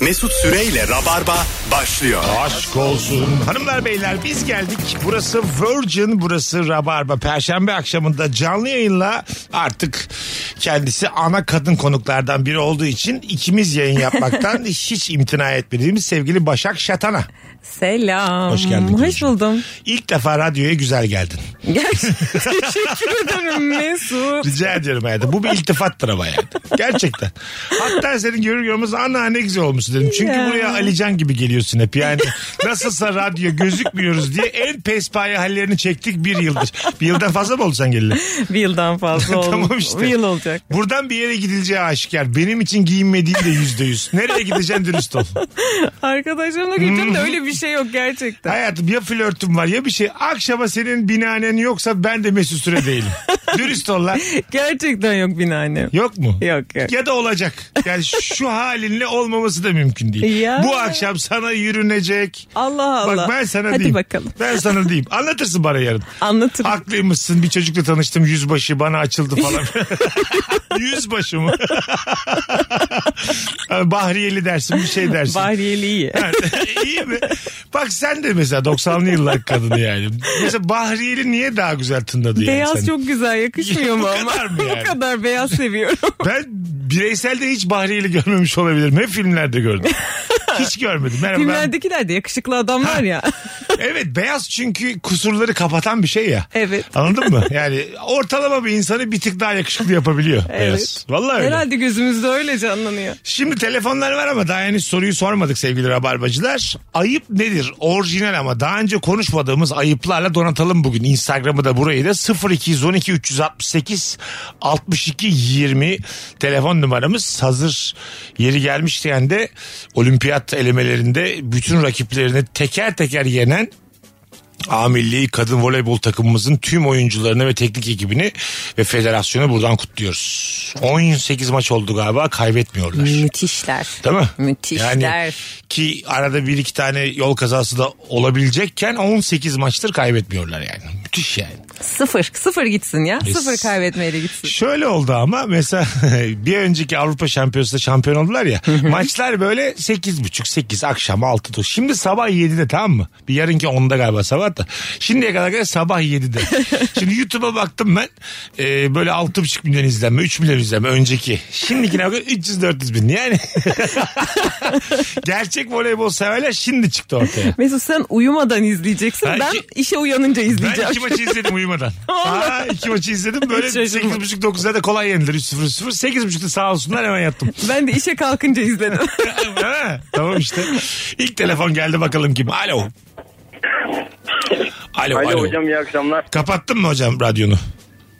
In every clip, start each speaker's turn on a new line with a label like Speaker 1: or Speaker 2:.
Speaker 1: Mesut Süreyle Rabarba başlıyor.
Speaker 2: Aşk olsun. Hanımlar beyler biz geldik. Burası Virgin, burası Rabarba. Perşembe akşamında canlı yayınla artık kendisi ana kadın konuklardan biri olduğu için ikimiz yayın yapmaktan hiç imtina etmediğimiz sevgili Başak Şatan'a.
Speaker 3: Selam.
Speaker 2: Hoş geldin
Speaker 3: Hoş
Speaker 2: kızım.
Speaker 3: buldum.
Speaker 2: İlk defa radyoya güzel geldin.
Speaker 3: Gerçekten teşekkür ederim Mesut.
Speaker 2: Rica ediyorum hayatım. Bu bir iltifattır ama yani. Gerçekten. Hatta senin görür görmez ana ne güzel olmuşsun dedim. Çünkü
Speaker 3: Ya.
Speaker 2: buraya Alican gibi geliyorsun hep. Yani nasılsa radyo gözükmüyoruz diye en pespaye hallerini çektik bir yıldır. Bir yıldan fazla mı oldu sen geleli?
Speaker 3: Bir yıldan fazla oldu.
Speaker 2: tamam işte.
Speaker 3: Bir yıl olacak.
Speaker 2: Buradan bir yere gidileceği aşikar. Benim için giyinmediğin de yüzde yüz. Nereye gideceksin dürüst ol.
Speaker 3: Arkadaşlarımla gittim de
Speaker 2: Hmm.
Speaker 3: öyle bir şey yok gerçekten.
Speaker 2: Hayatım ya flörtüm var ya bir şey. Akşama senin binanen yoksa ben de mesut süre değilim. dürüst ol lan.
Speaker 3: Gerçekten yok binaannem.
Speaker 2: Yok mu?
Speaker 3: Yok, yok.
Speaker 2: Ya da olacak. Yani şu halinle olmaması da mümkün değil.
Speaker 3: Ya.
Speaker 2: Bu akşam sana yürünecek.
Speaker 3: Allah Allah.
Speaker 2: Bak ben sana
Speaker 3: Hadi
Speaker 2: diyeyim.
Speaker 3: bakalım.
Speaker 2: Ben sana diyeyim. Anlatırsın bana yarın.
Speaker 3: Anlatırım.
Speaker 2: Haklıymışsın bir çocukla tanıştım yüzbaşı bana açıldı falan. yüzbaşı mı? Bahriyeli dersin bir şey dersin.
Speaker 3: Bahriyeli iyi.
Speaker 2: İyi mi? Bak sen de mesela 90'lı yıllar kadını yani. Mesela Bahriyeli niye daha güzel tınladı yani
Speaker 3: Beyaz
Speaker 2: sana?
Speaker 3: çok güzel yakışmıyor
Speaker 2: Bu
Speaker 3: mu ama?
Speaker 2: kadar mı yani?
Speaker 3: Bu kadar beyaz seviyorum.
Speaker 2: Ben bireyselde hiç Bahriyeli görmemiş olabilirim. Hep filmlerde gördüm. Hiç görmedim. Merhaba. ben-
Speaker 3: Filmlerdekiler de yakışıklı adamlar ya.
Speaker 2: Evet beyaz çünkü kusurları kapatan bir şey ya.
Speaker 3: Evet.
Speaker 2: Anladın mı? Yani ortalama bir insanı bir tık daha yakışıklı yapabiliyor beyaz. Vallahi öyle.
Speaker 3: Herhalde gözümüzde öyle canlanıyor.
Speaker 2: Şimdi telefonlar var ama daha henüz soruyu sormadık sevgili rabarbacılar. Ayıp nedir? Orijinal ama daha önce konuşmadığımız ayıplarla donatalım bugün. Instagram'ı da burayı da 0212 368 62 20 telefon numaramız. Hazır yeri gelmiş diyen de olimpiyat elemelerinde bütün rakiplerini teker teker yenen A milli kadın voleybol takımımızın tüm oyuncularını ve teknik ekibini ve federasyonu buradan kutluyoruz. 18 maç oldu galiba kaybetmiyorlar.
Speaker 3: Müthişler.
Speaker 2: Değil mi?
Speaker 3: Müthişler.
Speaker 2: Yani ki arada bir iki tane yol kazası da olabilecekken 18 maçtır kaybetmiyorlar yani. Müthiş yani.
Speaker 3: Sıfır. Sıfır gitsin ya. Sıfır
Speaker 2: Biz-
Speaker 3: kaybetmeye de gitsin.
Speaker 2: Şöyle oldu ama mesela bir önceki Avrupa Şampiyonası'nda şampiyon oldular ya. maçlar böyle 8.30 8 akşam 6'da. Şimdi sabah 7'de tamam mı? Bir yarınki 10'da galiba sabah da. Şimdiye kadar kadar sabah 7'de. Şimdi YouTube'a baktım ben. Ee, böyle 6.5 milyon izlenme 3 milyon izlenme önceki. Şimdikine bakın 300-400 bin yani. Gerçek voleybol severler şimdi çıktı ortaya.
Speaker 3: Mesut sen uyumadan izleyeceksin.
Speaker 2: Ben
Speaker 3: Ben,
Speaker 2: iki-
Speaker 3: işe uyanınca izleyeceğim.
Speaker 2: Ben iki maçı izledim uyumadan.
Speaker 3: Vallahi.
Speaker 2: Aa, iki maçı izledim böyle
Speaker 3: Hiç şaşırmadım.
Speaker 2: 8.30-9'da da kolay yenilir 3-0-0. 8.30'da sağ olsunlar hemen yattım.
Speaker 3: Ben de işe kalkınca izledim.
Speaker 2: Ha, tamam işte. İlk telefon geldi bakalım kim. Alo. Alo, alo.
Speaker 4: Alo hocam iyi akşamlar.
Speaker 2: Kapattın mı hocam radyonu?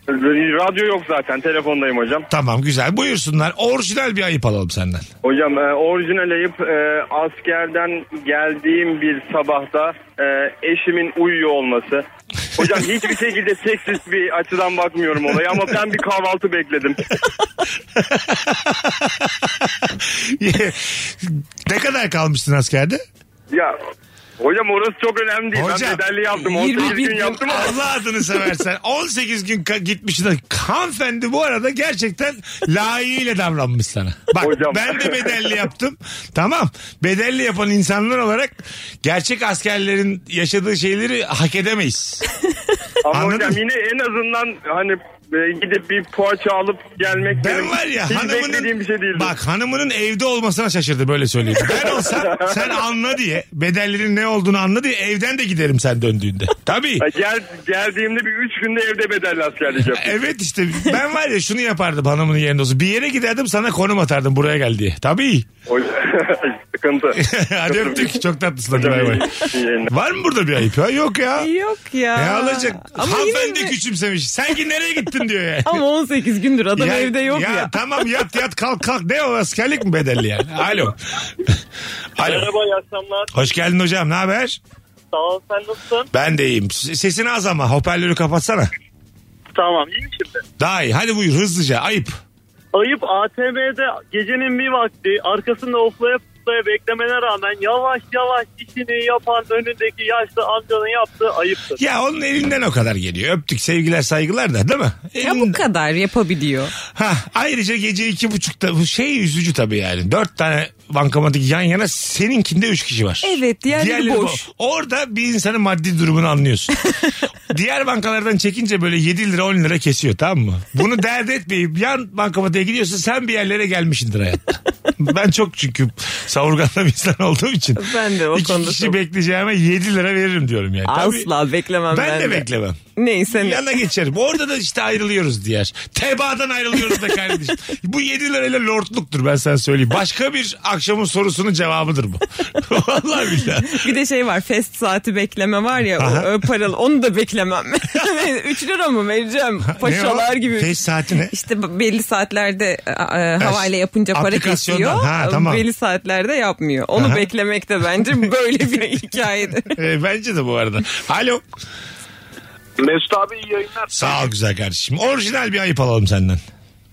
Speaker 4: Radyo yok zaten telefondayım hocam.
Speaker 2: Tamam güzel buyursunlar. Orijinal bir ayıp alalım senden.
Speaker 4: Hocam e, orijinal ayıp e, askerden geldiğim bir sabahta e, eşimin uyuyor olması. Hocam hiçbir şekilde seksist bir açıdan bakmıyorum olaya ama ben bir kahvaltı bekledim.
Speaker 2: ne kadar kalmıştın askerde?
Speaker 4: Ya hocam orası çok önemli değil.
Speaker 2: Hocam,
Speaker 4: ben bedelli yaptım 18
Speaker 3: 21
Speaker 4: gün yaptım ama.
Speaker 2: Allah adını seversen 18 gün ka- gitmiş de hanımefendi bu arada gerçekten layığıyla davranmış sana. Bak
Speaker 4: Hocam.
Speaker 2: ben de bedelli yaptım. Tamam bedelli yapan insanlar olarak gerçek askerlerin yaşadığı şeyleri hak edemeyiz.
Speaker 4: Ama
Speaker 2: Anladın
Speaker 4: hocam
Speaker 2: mı?
Speaker 4: yine en azından hani e, gidip bir poğaça alıp gelmek
Speaker 2: Ben
Speaker 4: benim
Speaker 2: var ya
Speaker 4: hiç
Speaker 2: hanımının
Speaker 4: beklediğim bir şey değildi.
Speaker 2: bak hanımının evde olmasına şaşırdı böyle söyleyeyim. Ben olsam sen anla diye bedellerin ne olduğunu anla diye evden de giderim sen döndüğünde. Tabii.
Speaker 4: Ya Gel, geldiğimde bir 3 günde evde bedelli askerlik yaptım.
Speaker 2: Evet işte ben var ya şunu yapardım hanımın yerinde olsun. Bir yere giderdim sana konum atardım buraya gel diye. Tabii.
Speaker 4: O- Sıkıntı.
Speaker 2: Hadi öptük. Çok tatlısın. Hadi
Speaker 4: Hocam,
Speaker 2: bay bay.
Speaker 4: iyi- iyi yayınlar.
Speaker 2: Var mı burada bir ayıp ya? Yok ya.
Speaker 3: Yok ya.
Speaker 2: Ne alacak?
Speaker 3: Ama yine
Speaker 2: Hanımefendi
Speaker 3: de-
Speaker 2: küçümsemiş. Sen ki nereye gittin diyor yani.
Speaker 3: Ama 18 gündür adam
Speaker 2: Ya-
Speaker 3: evde yok ya.
Speaker 2: tamam yat yat kalk kalk. Ne o askerlik mi bedelli yani? Alo. Alo.
Speaker 5: Merhaba iyi akşamlar.
Speaker 2: Hoş geldin hocam. Ne haber?
Speaker 5: Sağ ol sen nasılsın?
Speaker 2: Ben de iyiyim. S- Sesini az ama hoparlörü kapatsana.
Speaker 5: Tamam iyiyim şimdi.
Speaker 2: Daha iyi. Hadi buyur hızlıca. Ayıp.
Speaker 5: Ayıp ATM'de gecenin bir vakti arkasında oflayıp noktaya beklemene rağmen yavaş yavaş işini yapan önündeki yaşlı amcanın yaptığı ayıptır.
Speaker 2: Ya onun elinden o kadar geliyor. Öptük sevgiler saygılar da değil mi?
Speaker 3: Ya bu
Speaker 2: Elinden-
Speaker 3: kadar yapabiliyor.
Speaker 2: Ha, ayrıca gece iki buçukta bu şey üzücü tabii yani. Dört tane bankamatik yan yana seninkinde üç kişi var.
Speaker 3: Evet, diğerleri boş.
Speaker 2: bo- Orada bir insanın maddi durumunu anlıyorsun. Diğer bankalardan çekince böyle 7 lira 10 lira kesiyor tamam mı? Bunu dert etmeyip yan bankamatiğe gidiyorsun sen bir yerlere gelmişsindir hayatta. ben çok çünkü savurganlı bir insan olduğum için.
Speaker 3: Ben de o
Speaker 2: iki
Speaker 3: konuda
Speaker 2: kişi
Speaker 3: çok-
Speaker 2: bekleyeceğime 7 lira veririm diyorum yani. Tabii
Speaker 3: Asla beklemem ben,
Speaker 2: ben de beklemem.
Speaker 3: Neyse. ne-
Speaker 2: Yana geçerim. Orada da işte ayrılıyoruz diğer. Teba'dan ayrılıyoruz da kardeşim. bu 7 lirayla lordluktur ben sana söyleyeyim. Başka bir akşamın sorusunun cevabıdır bu. Vallahi billahi.
Speaker 3: Bir de şey var fest saati bekleme var ya o,
Speaker 2: Aha.
Speaker 3: ö, paralı onu da beklemem. 3 lira mı vereceğim paşalar
Speaker 2: Ne o?
Speaker 3: gibi.
Speaker 2: Fes saati ne?
Speaker 3: İşte b- belli saatlerde e, e, havayla yapınca para
Speaker 2: aplikasyondan.
Speaker 3: kesiyor.
Speaker 2: Ha, tamam.
Speaker 3: Belli saatlerde yapmıyor. Onu
Speaker 2: Aha.
Speaker 3: beklemek de bence böyle bir hikayedir.
Speaker 2: Ee, bence de bu arada. Alo.
Speaker 4: Mesut abi iyi yayınlar.
Speaker 2: Sağ ol güzel kardeşim. Orijinal bir ayıp alalım senden.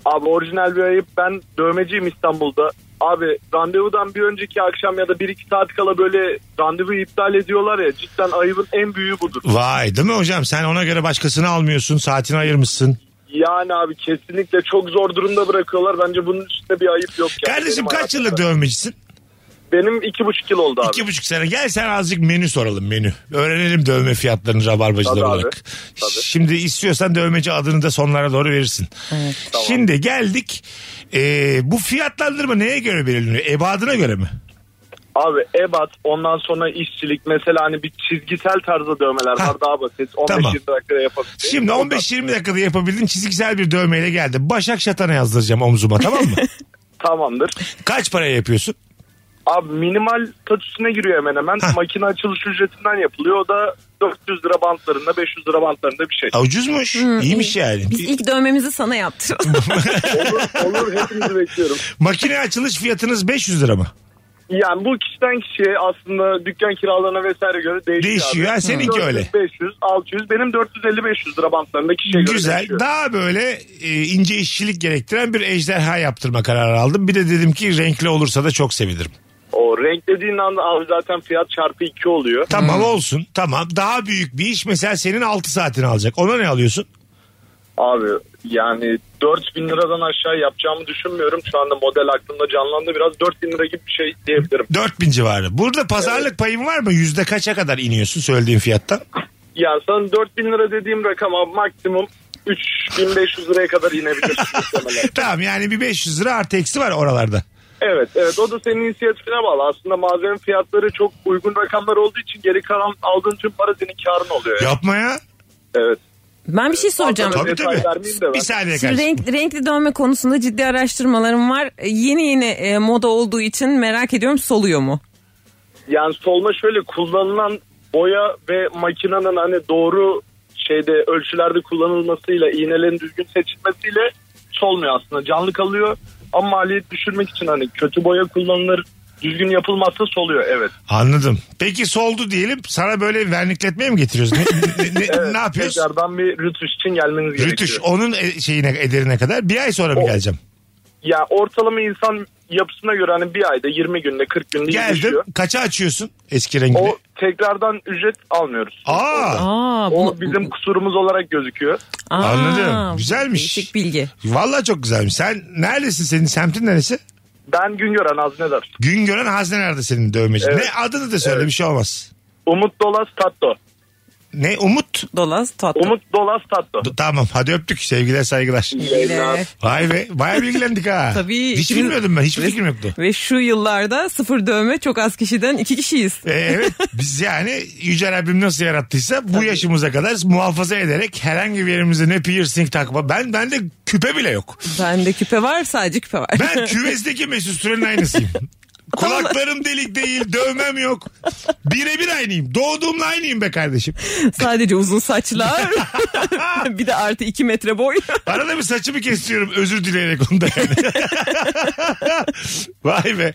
Speaker 4: Abi orijinal bir ayıp. Ben dövmeciyim İstanbul'da. Abi randevudan bir önceki akşam ya da 1-2 saat kala böyle randevu iptal ediyorlar ya. Cidden ayıbın en büyüğü budur.
Speaker 2: Vay değil mi hocam? Sen ona göre başkasını almıyorsun. Saatini ayırmışsın.
Speaker 4: Yani abi kesinlikle çok zor durumda bırakıyorlar. Bence bunun üstünde bir ayıp yok. Yani.
Speaker 2: Kardeşim
Speaker 4: Benim
Speaker 2: kaç
Speaker 4: hayatımda.
Speaker 2: yıllık dövmecisin?
Speaker 4: Benim iki buçuk yıl oldu abi.
Speaker 2: İki buçuk sene. Gel sen azıcık menü soralım menü. Öğrenelim dövme fiyatlarını rabarbacılar
Speaker 4: Tabii abi.
Speaker 2: olarak.
Speaker 4: Tabii.
Speaker 2: Şimdi istiyorsan dövmeci adını da sonlara doğru verirsin. Şimdi geldik. Ee, bu fiyatlandırma neye göre belirleniyor? Ebadına göre mi?
Speaker 4: Abi ebat ondan sonra işçilik mesela hani bir çizgisel tarzda dövmeler
Speaker 2: Ha.
Speaker 4: var daha basit. 15-20
Speaker 2: Tamam.
Speaker 4: dakikada yapabiliriz.
Speaker 2: Şimdi 15-20 dakikada yapabildiğin çizgisel bir dövmeyle geldi. Başak Şatan'a yazdıracağım omzuma tamam mı?
Speaker 4: Tamamdır.
Speaker 2: Kaç paraya yapıyorsun?
Speaker 4: Abi minimal statüsüne giriyor hemen hemen.
Speaker 2: Ha.
Speaker 4: Makine açılış ücretinden yapılıyor. O da 400 lira bantlarında 500 lira bantlarında bir şey.
Speaker 2: Ha, ucuzmuş. İyiymiş yani.
Speaker 3: Biz ilk dövmemizi sana yaptıralım.
Speaker 4: olur, olur hepinizi bekliyorum.
Speaker 2: Makine açılış fiyatınız 500 lira mı?
Speaker 4: Yani bu kişiden kişiye aslında dükkan kiralarına vesaire göre değişiyor.
Speaker 2: Değişiyor.
Speaker 4: abi.
Speaker 2: Ha, seninki
Speaker 4: 400,
Speaker 2: öyle.
Speaker 4: 500, 600. Benim 450-500 lira bantlarında kişiye göre
Speaker 2: Güzel.
Speaker 4: değişiyor.
Speaker 2: Daha böyle e, ince işçilik gerektiren bir ejderha yaptırma kararı aldım. Bir de dedim ki renkli olursa da çok sevinirim.
Speaker 4: O renk dediğin anda abi zaten fiyat çarpı 2 oluyor.
Speaker 2: Tamam olsun. Tamam. Daha büyük bir iş mesela senin 6 saatini alacak. Ona ne alıyorsun?
Speaker 4: Abi yani 4000 liradan aşağı yapacağımı düşünmüyorum. Şu anda model aklımda canlandı biraz. 4000 lira gibi bir şey diyebilirim.
Speaker 2: 4000 civarı. Burada pazarlık payın var mı? Yüzde kaça kadar iniyorsun söylediğin fiyattan?
Speaker 4: Yani sana 4000 lira dediğim rakam abi maksimum 3500 liraya kadar inebilir. muhtemelen.
Speaker 2: Tamam yani bir 500 lira artı eksi var oralarda.
Speaker 4: evet evet o da senin inisiyatifine bağlı. Aslında malzeme fiyatları çok uygun rakamlar olduğu için geri kalan aldığın tüm para senin karın oluyor. yani.
Speaker 2: Yapma ya.
Speaker 4: Evet.
Speaker 3: Ben bir şey soracağım.
Speaker 4: Tabii,
Speaker 2: Tabii
Speaker 4: Detay
Speaker 2: tabii.
Speaker 4: vermeyeyim de ben.
Speaker 2: Bir saniye
Speaker 3: Şimdi
Speaker 2: kardeşim.
Speaker 3: renk, renkli dövme konusunda ciddi araştırmalarım var. E, Yeni yeni e, moda olduğu için merak ediyorum soluyor mu?
Speaker 4: Yani solma şöyle kullanılan boya ve makinenin hani doğru şeyde ölçülerde kullanılmasıyla iğnelerin düzgün seçilmesiyle solmuyor aslında. Canlı kalıyor ama maliyet düşürmek için hani kötü boya kullanılır düzgün yapılmazsa soluyor evet.
Speaker 2: Anladım. Peki soldu diyelim. Sana böyle vernikletmeye mi getiriyoruz? Ne, ne, ne- ne yapıyoruz?
Speaker 4: Tekrardan bir rütüş için gelmeniz
Speaker 2: Rütüş
Speaker 4: gerekiyor.
Speaker 2: onun e- şeyine ederine kadar bir ay sonra mı
Speaker 4: O-
Speaker 2: geleceğim?
Speaker 4: Ya ortalama insan yapısına göre hani bir ayda 20 günde 40 günde
Speaker 2: Geldim.
Speaker 4: iyileşiyor.
Speaker 2: Kaça açıyorsun eski rengini?
Speaker 4: O tekrardan ücret almıyoruz.
Speaker 2: Aa.
Speaker 3: Aa,
Speaker 4: O
Speaker 3: bunu-
Speaker 4: bizim kusurumuz olarak gözüküyor.
Speaker 3: Aa,
Speaker 2: Anladım. Güzelmiş.
Speaker 3: Değişik bilgi.
Speaker 2: Vallahi çok güzelmiş. Sen neredesin senin semtin neresi?
Speaker 4: Ben Güngören Haznedar.
Speaker 2: Güngören Hazne nerede senin dövmeci?
Speaker 4: Evet.
Speaker 2: Ne adını da söyle bir şey olmaz.
Speaker 4: Umut Dolas Tatto.
Speaker 2: Ne Umut?
Speaker 3: Dolaz tatlı.
Speaker 4: Umut Dolas Tatto.
Speaker 2: D- Tamam hadi öptük sevgiler saygılar.
Speaker 3: Bile.
Speaker 2: Vay be baya bilgilendik ha.
Speaker 3: Tabii.
Speaker 2: Hiç bilmiyordum ben hiçbir
Speaker 3: Ve-
Speaker 2: fikrim yoktu.
Speaker 3: Ve şu yıllarda sıfır dövme çok az kişiden iki kişiyiz.
Speaker 2: Ee, evet biz yani Yüce Rabbim nasıl yarattıysa bu yaşımıza kadar muhafaza ederek herhangi bir yerimize ne piercing takma. Ben bende küpe bile yok.
Speaker 3: Bende küpe var sadece küpe var.
Speaker 2: Ben küvezdeki Mesut Süren'in aynısıyım. Kulaklarım delik değil, dövmem yok. Birebir aynıyım. Doğduğumla aynıyım be kardeşim.
Speaker 3: sadece uzun saçlar. bir de artı iki metre boy.
Speaker 2: Arada bir saçımı kesiyorum özür dileyerek onda yani. Vay be.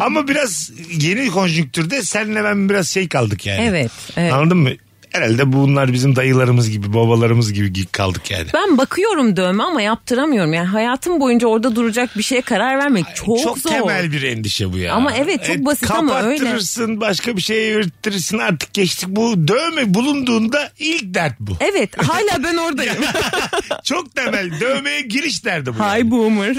Speaker 2: Ama biraz yeni konjüktürde senle ben biraz şey kaldık yani.
Speaker 3: Evet, evet.
Speaker 2: Anladın mı? Herhalde bunlar bizim dayılarımız gibi, babalarımız gibi kaldık yani.
Speaker 3: Ben bakıyorum dövme ama yaptıramıyorum. Yani hayatım boyunca orada duracak bir şeye karar vermek çok, zor.
Speaker 2: temel bir endişe bu ya. E,
Speaker 3: Ama evet, çok basit ama öyle.
Speaker 2: Kapattırırsın başka bir şeye yürütürsün artık geçtik bu dövme bulunduğunda ilk dert bu.
Speaker 3: Evet hala ben oradayım.
Speaker 2: çok temel dövmeye giriş derdi bu. yani.
Speaker 3: Hay boomer.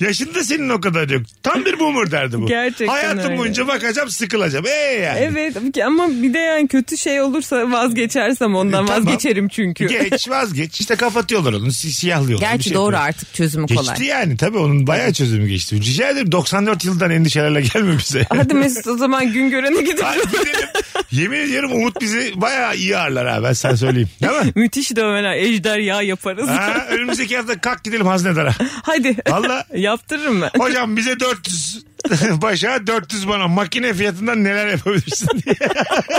Speaker 2: Yaşın da senin o kadar yok. Tam bir boomer derdi bu.
Speaker 3: Gerçekten
Speaker 2: Hayatım
Speaker 3: öyle.
Speaker 2: boyunca bakacağım sıkılacağım. Ee yani.
Speaker 3: evet ama bir de yani kötü şey olursa vazgeçersem ondan
Speaker 2: Tamam.
Speaker 3: vazgeçerim çünkü.
Speaker 2: Geç vazgeç işte kafatıyorlar onu si- siyahlıyorlar. bir
Speaker 3: Gerçi
Speaker 2: şey
Speaker 3: doğru
Speaker 2: yapıyorlar.
Speaker 3: artık çözümü
Speaker 2: Geçti
Speaker 3: kolay.
Speaker 2: yani tabii onun bayağı çözümü geçti. Rica ederim 94 yıldan endişelerle gelme bize.
Speaker 3: Hadi Mesut o zaman gün görene
Speaker 2: Hadi
Speaker 3: gidelim.
Speaker 2: gidelim. Yemin ediyorum Umut bizi bayağı iyi ağırlar ha ben sana söyleyeyim. Değil mi?
Speaker 3: Müthiş dövmeler ejderha yaparız.
Speaker 2: Ha, önümüzdeki hafta kalk gidelim haznedara.
Speaker 3: Hadi.
Speaker 2: Valla.
Speaker 3: Yaptırırım ben.
Speaker 2: Hocam bize 400 başa 400 bana makine fiyatından neler yapabilirsin diye.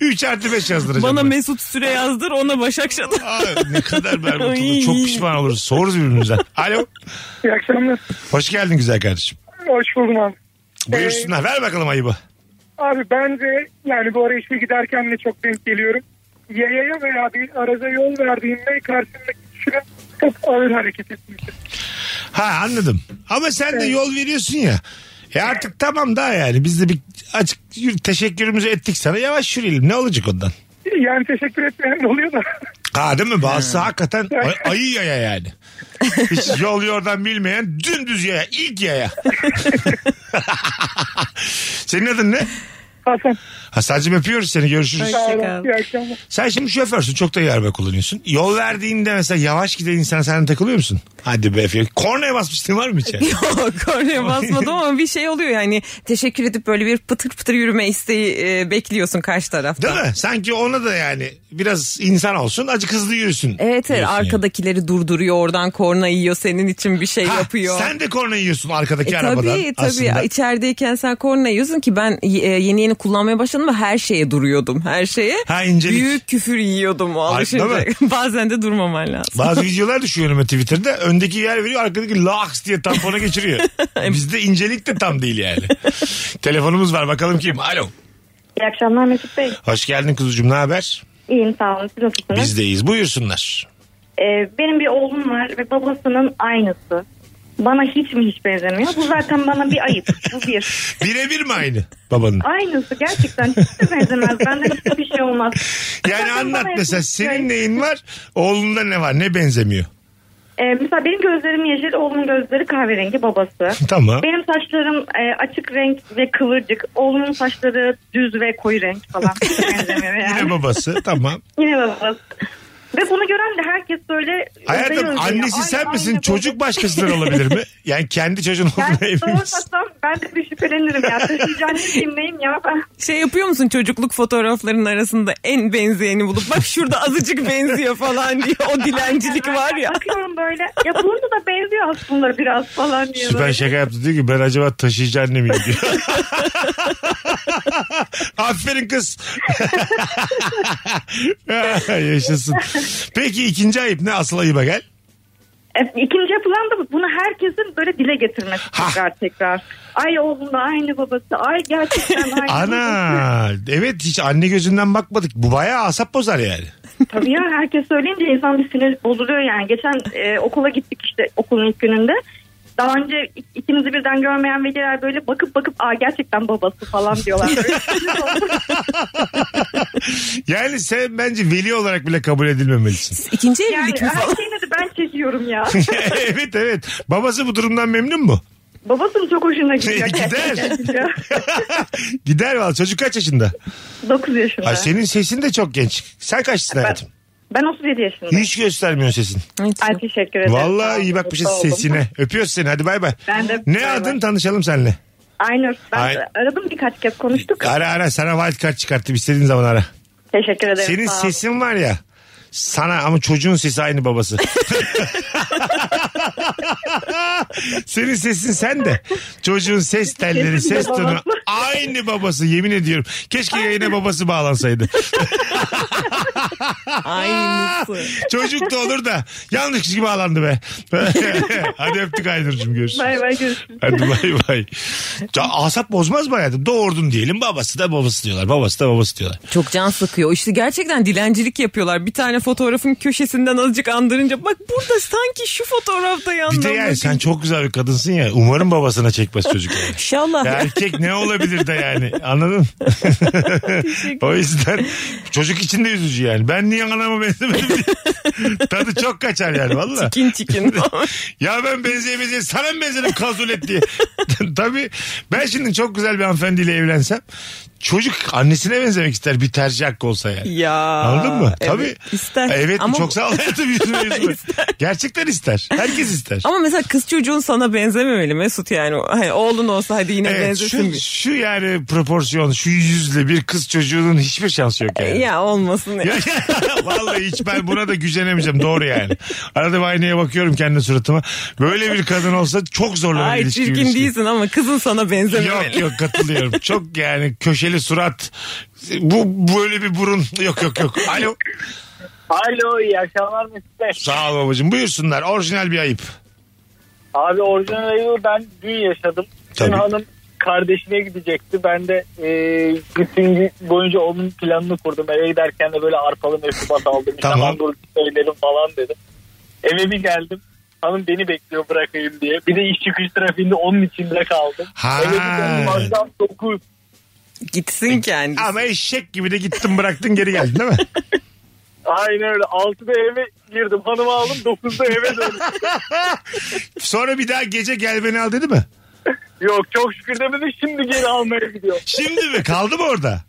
Speaker 2: 3 artı 5 yazdıracağım.
Speaker 3: Bana
Speaker 2: ben.
Speaker 3: Mesut Süre yazdır ona Başak Şadır.
Speaker 2: Abi ne kadar berbat
Speaker 3: Ay.
Speaker 2: olur. Çok pişman oluruz. Soruruz birbirimizden. Alo.
Speaker 6: İyi akşamlar.
Speaker 2: Hoş geldin güzel kardeşim.
Speaker 6: Hoş buldum abi.
Speaker 2: Buyursunlar. Ver bakalım ayıbı.
Speaker 6: Abi ben de yani bu ara işe giderken de çok denk geliyorum. Yayaya veya bir araza yol verdiğimde karşımdaki kişinin çok ağır hareket etmişim.
Speaker 2: Ha anladım. Ama sen de yol veriyorsun ya. E artık tamam daha yani. Biz de bir açık yürü- teşekkürümüzü ettik sana. Yavaş yürüyelim. Ne olacak ondan?
Speaker 6: Yani teşekkür etmeyen de oluyor da.
Speaker 2: Ha değil mi? Bazısı hakikaten ay- ayı yaya yani. Hiç yol yordan bilmeyen dümdüz yaya. ilk yaya. Senin adın ne?
Speaker 6: Hasan
Speaker 2: Hasan'cığım öpüyoruz seni. Görüşürüz.
Speaker 6: sağ
Speaker 3: Hoşçakal.
Speaker 6: olun. İyi akşamlar.
Speaker 2: Sen şimdi şoförsün. Çok da iyi araba kullanıyorsun. Yol verdiğinde mesela yavaş giden insana sen de takılıyor musun? Hadi be. Fiyo. Kornaya basmıştın var mı hiç? yani?
Speaker 3: Yok oraya basmadım ama bir şey oluyor yani teşekkür edip böyle bir pıtır pıtır yürüme isteği e, bekliyorsun karşı tarafta.
Speaker 2: Değil mi? Sanki ona da yani biraz insan olsun. Acık hızlı yürüsün.
Speaker 3: Evet evet
Speaker 2: diyorsun yani.
Speaker 3: arkadakileri durduruyor oradan korna yiyor senin için bir şey
Speaker 2: Ha,
Speaker 3: yapıyor.
Speaker 2: Sen de korna yiyorsun arkadaki
Speaker 3: E,
Speaker 2: arabadan.
Speaker 3: tabii tabii
Speaker 2: aslında.
Speaker 3: içerideyken sen korna yiyorsun ki ben e, yeni yeni kullanmaya başladım ve her şeye duruyordum her şeye.
Speaker 2: Ha, incelik.
Speaker 3: Büyük küfür yiyordum o
Speaker 2: Ay, değil
Speaker 3: alışınca. Bazen de durmaman lazım.
Speaker 2: Bazı videolar düşüyor önüme Twitter'da. Öndeki yer veriyor arkadaki laks diye tampona geçiriyor. Bizde incelik de tam değil yani. Telefonumuz var bakalım kim? Alo.
Speaker 7: İyi akşamlar Mesut Bey.
Speaker 2: Hoş geldin kuzucuğum ne haber?
Speaker 7: İyiyim sağ olun. Siz nasılsınız?
Speaker 2: Bizdeyiz buyursunlar.
Speaker 7: Ee, benim bir oğlum var ve babasının aynısı. Bana hiç mi hiç benzemiyor? Bu zaten bana bir ayıp. Bu bir.
Speaker 2: Birebir mi aynı babanın?
Speaker 7: Aynısı gerçekten hiç de benzemez. Benden hiçbir şey olmaz.
Speaker 2: Yani
Speaker 7: Zaten
Speaker 2: anlat
Speaker 7: bana
Speaker 2: mesela
Speaker 7: yapılmış şey.
Speaker 2: senin neyin var oğlunda ne var ne benzemiyor?
Speaker 7: Ee, mesela benim gözlerim yeşil, oğlumun gözleri kahverengi babası.
Speaker 2: Tamam.
Speaker 7: Benim saçlarım e, açık renk ve kıvırcık. Oğlumun saçları düz ve koyu renk falan. Hiç benzemiyor yani.
Speaker 2: Yine babası tamam.
Speaker 7: Yine babası. Ve bunu gören de herkes böyle...
Speaker 2: E, Hayatım
Speaker 7: özeniyor.
Speaker 2: annesi
Speaker 7: Aynı-
Speaker 2: sen misin?
Speaker 7: aynı
Speaker 2: Çocuk
Speaker 7: baba.
Speaker 2: başkasından olabilir mi? Yani kendi çocuğun
Speaker 7: Yani
Speaker 2: olduğuna emin misin?
Speaker 7: doğursam ben de bir şüphelenirim ya. Taşıyıcı annesiyim neyim ya ben.
Speaker 3: Şey yapıyor musun çocukluk fotoğraflarının arasında en benzeyeni bulup bak şurada azıcık benziyor falan diye o dilencilik var ya.
Speaker 7: Bakıyorum böyle. Ya burada da benziyor aslında biraz falan diye.
Speaker 2: Süper şey.
Speaker 7: böyle.
Speaker 2: şaka yaptı diyor ki ben acaba taşıyıcı anne miyim diyor. Aferin kız. Yaşasın. Peki ikinci ayıp ne? Asıl ayıba gel.
Speaker 7: E, İkinci yapılan da bunu herkesin böyle dile getirmesi
Speaker 2: Ha.
Speaker 7: tekrar tekrar. Ay oğlum da aynı babası. Ay gerçekten aynı. babası.
Speaker 2: Ana. Evet hiç anne gözünden bakmadık. Bu bayağı asap bozar yani.
Speaker 7: Tabii ya herkes söyleyince insan bir sinir bozuluyor yani. Geçen e, okula gittik işte okulun ilk gününde. Daha önce ik- ikimizi birden görmeyen veliler böyle bakıp bakıp aa gerçekten babası falan diyorlar. Böyle sinir oldum.
Speaker 2: Yani sen bence veli olarak bile kabul edilmemelisin.
Speaker 3: İkinci
Speaker 7: Yani
Speaker 3: evlilik mi
Speaker 7: her
Speaker 3: falan?
Speaker 7: şeyini de ben çekiyorum ya.
Speaker 2: evet evet. Babası bu durumdan memnun mu?
Speaker 7: Babasının çok hoşuna gidiyor.
Speaker 2: Gider.
Speaker 7: Gerçekten.
Speaker 2: Gider valla. Çocuk kaç yaşında?
Speaker 7: 9 yaşında.
Speaker 2: Ay, senin sesin de çok genç. Sen kaçsın hayatım?
Speaker 7: Ben 37 yaşındayım.
Speaker 2: Hiç göstermiyorsun sesin.
Speaker 7: Ay teşekkür ederim. Sağ
Speaker 2: Vallahi
Speaker 7: olun,
Speaker 2: iyi bakmışız
Speaker 7: mutlu oldum.
Speaker 2: sesine. Öpüyoruz seni hadi bay bay.
Speaker 7: Ben de-
Speaker 2: ne
Speaker 7: bay bay.
Speaker 2: adın tanışalım seninle.
Speaker 7: Aynur. Ben
Speaker 2: Ay-
Speaker 7: aradım birkaç kez konuştuk.
Speaker 2: Ara ara sana wild card çıkarttım istediğin zaman ara.
Speaker 7: Teşekkür ederim.
Speaker 2: Senin
Speaker 7: sağ olun.
Speaker 2: sesin var ya sana ama çocuğun sesi aynı babası. Senin sesin sen de. Çocuğun ses telleri, ses tonu. Aynı babası yemin ediyorum. Keşke yayına babası bağlansaydı.
Speaker 3: Aynısı.
Speaker 2: Çocuk da olur da. Yanlış kişi bağlandı be. Hadi öptük Aynur'cum görüşürüz.
Speaker 7: Bay bay görüşürüz.
Speaker 2: Hadi bay bay. Ya asap bozmaz mı hayatım? Doğurdun diyelim babası da babası diyorlar. Babası da babası diyorlar.
Speaker 3: Çok can sıkıyor. İşte gerçekten dilencilik yapıyorlar. Bir tane fotoğrafın köşesinden azıcık andırınca bak burada sanki şu fotoğrafta yandım.
Speaker 2: Bir de yani sen çok güzel bir kadınsın ya. Umarım babasına çekmez çocuk. yani.
Speaker 3: İnşallah.
Speaker 2: Ya erkek ne olabilir de yani anladın? mı? o yüzden çocuk için de üzücü yani. Ben niye anama benzemedim diye. Tadı çok kaçar yani valla.
Speaker 3: Çikin çikin.
Speaker 2: Ya ben benzeye benzeye sana mı benzedim kazulet diye. Tabii ben şimdi çok güzel bir hanımefendiyle evlensem çocuk annesine benzemek ister bir tercih hakkı olsa yani.
Speaker 3: ya.
Speaker 2: Anladın mı?
Speaker 3: Evet,
Speaker 2: Tabii.
Speaker 3: İster.
Speaker 2: Evet
Speaker 3: Ama-
Speaker 2: çok sağ ol hayatım yüzüme yüzüme.
Speaker 3: İster.
Speaker 2: Gerçekten ister. Herkes ister.
Speaker 3: Ama mesela kız çocuğun sana benzememeli Mesut yani. Hani oğlun olsa hadi yine
Speaker 2: Evet,
Speaker 3: benzesin.
Speaker 2: şu,
Speaker 3: bir.
Speaker 2: şu yani proporsiyon şu yüzle bir kız çocuğunun hiçbir şansı yok yani.
Speaker 3: Ya olmasın.
Speaker 2: Ya- Vallahi hiç ben buna da gücenemeyeceğim doğru yani. Arada bir aynaya bakıyorum kendi suratıma. Böyle bir kadın olsa çok zorlanır
Speaker 3: Ay
Speaker 2: ilişki
Speaker 3: çirkin
Speaker 2: ilişki.
Speaker 3: değilsin ama kızın sana
Speaker 2: Yok
Speaker 3: benzememeli.
Speaker 2: yok katılıyorum. Çok yani köşeli surat. Bu böyle bir burun. Yok yok yok. Alo.
Speaker 5: Alo iyi akşamlar Mesut Bey.
Speaker 2: Sağ ol babacığım. Buyursunlar. Orijinal bir ayıp.
Speaker 5: Abi orijinal ayıbı ben dün yaşadım. Dün
Speaker 2: Tabii.
Speaker 5: hanım kardeşine gidecekti. Ben de e, bütün gün boyunca onun planını kurdum. Eve giderken de böyle arpalı mevzubat aldım.
Speaker 2: Tamam.
Speaker 5: Tamam. dur söylerim falan dedim. Eve bir geldim. Hanım beni bekliyor bırakayım diye. Bir de iş çıkış trafiğinde onun içinde kaldım.
Speaker 2: Ha.
Speaker 5: Eve bir geldim akşam 9.
Speaker 3: Gitsin kendisi.
Speaker 2: Ama eşek gibi de gittin bıraktın geri geldin değil mi?
Speaker 5: Aynen öyle. 6'da eve girdim. Hanımı aldım. 9'da eve döndüm.
Speaker 2: Sonra bir daha gece gel beni al dedi mi?
Speaker 5: Yok çok şükür demedi. Şimdi geri almaya gidiyor.
Speaker 2: Şimdi mi? Kaldı mı orada?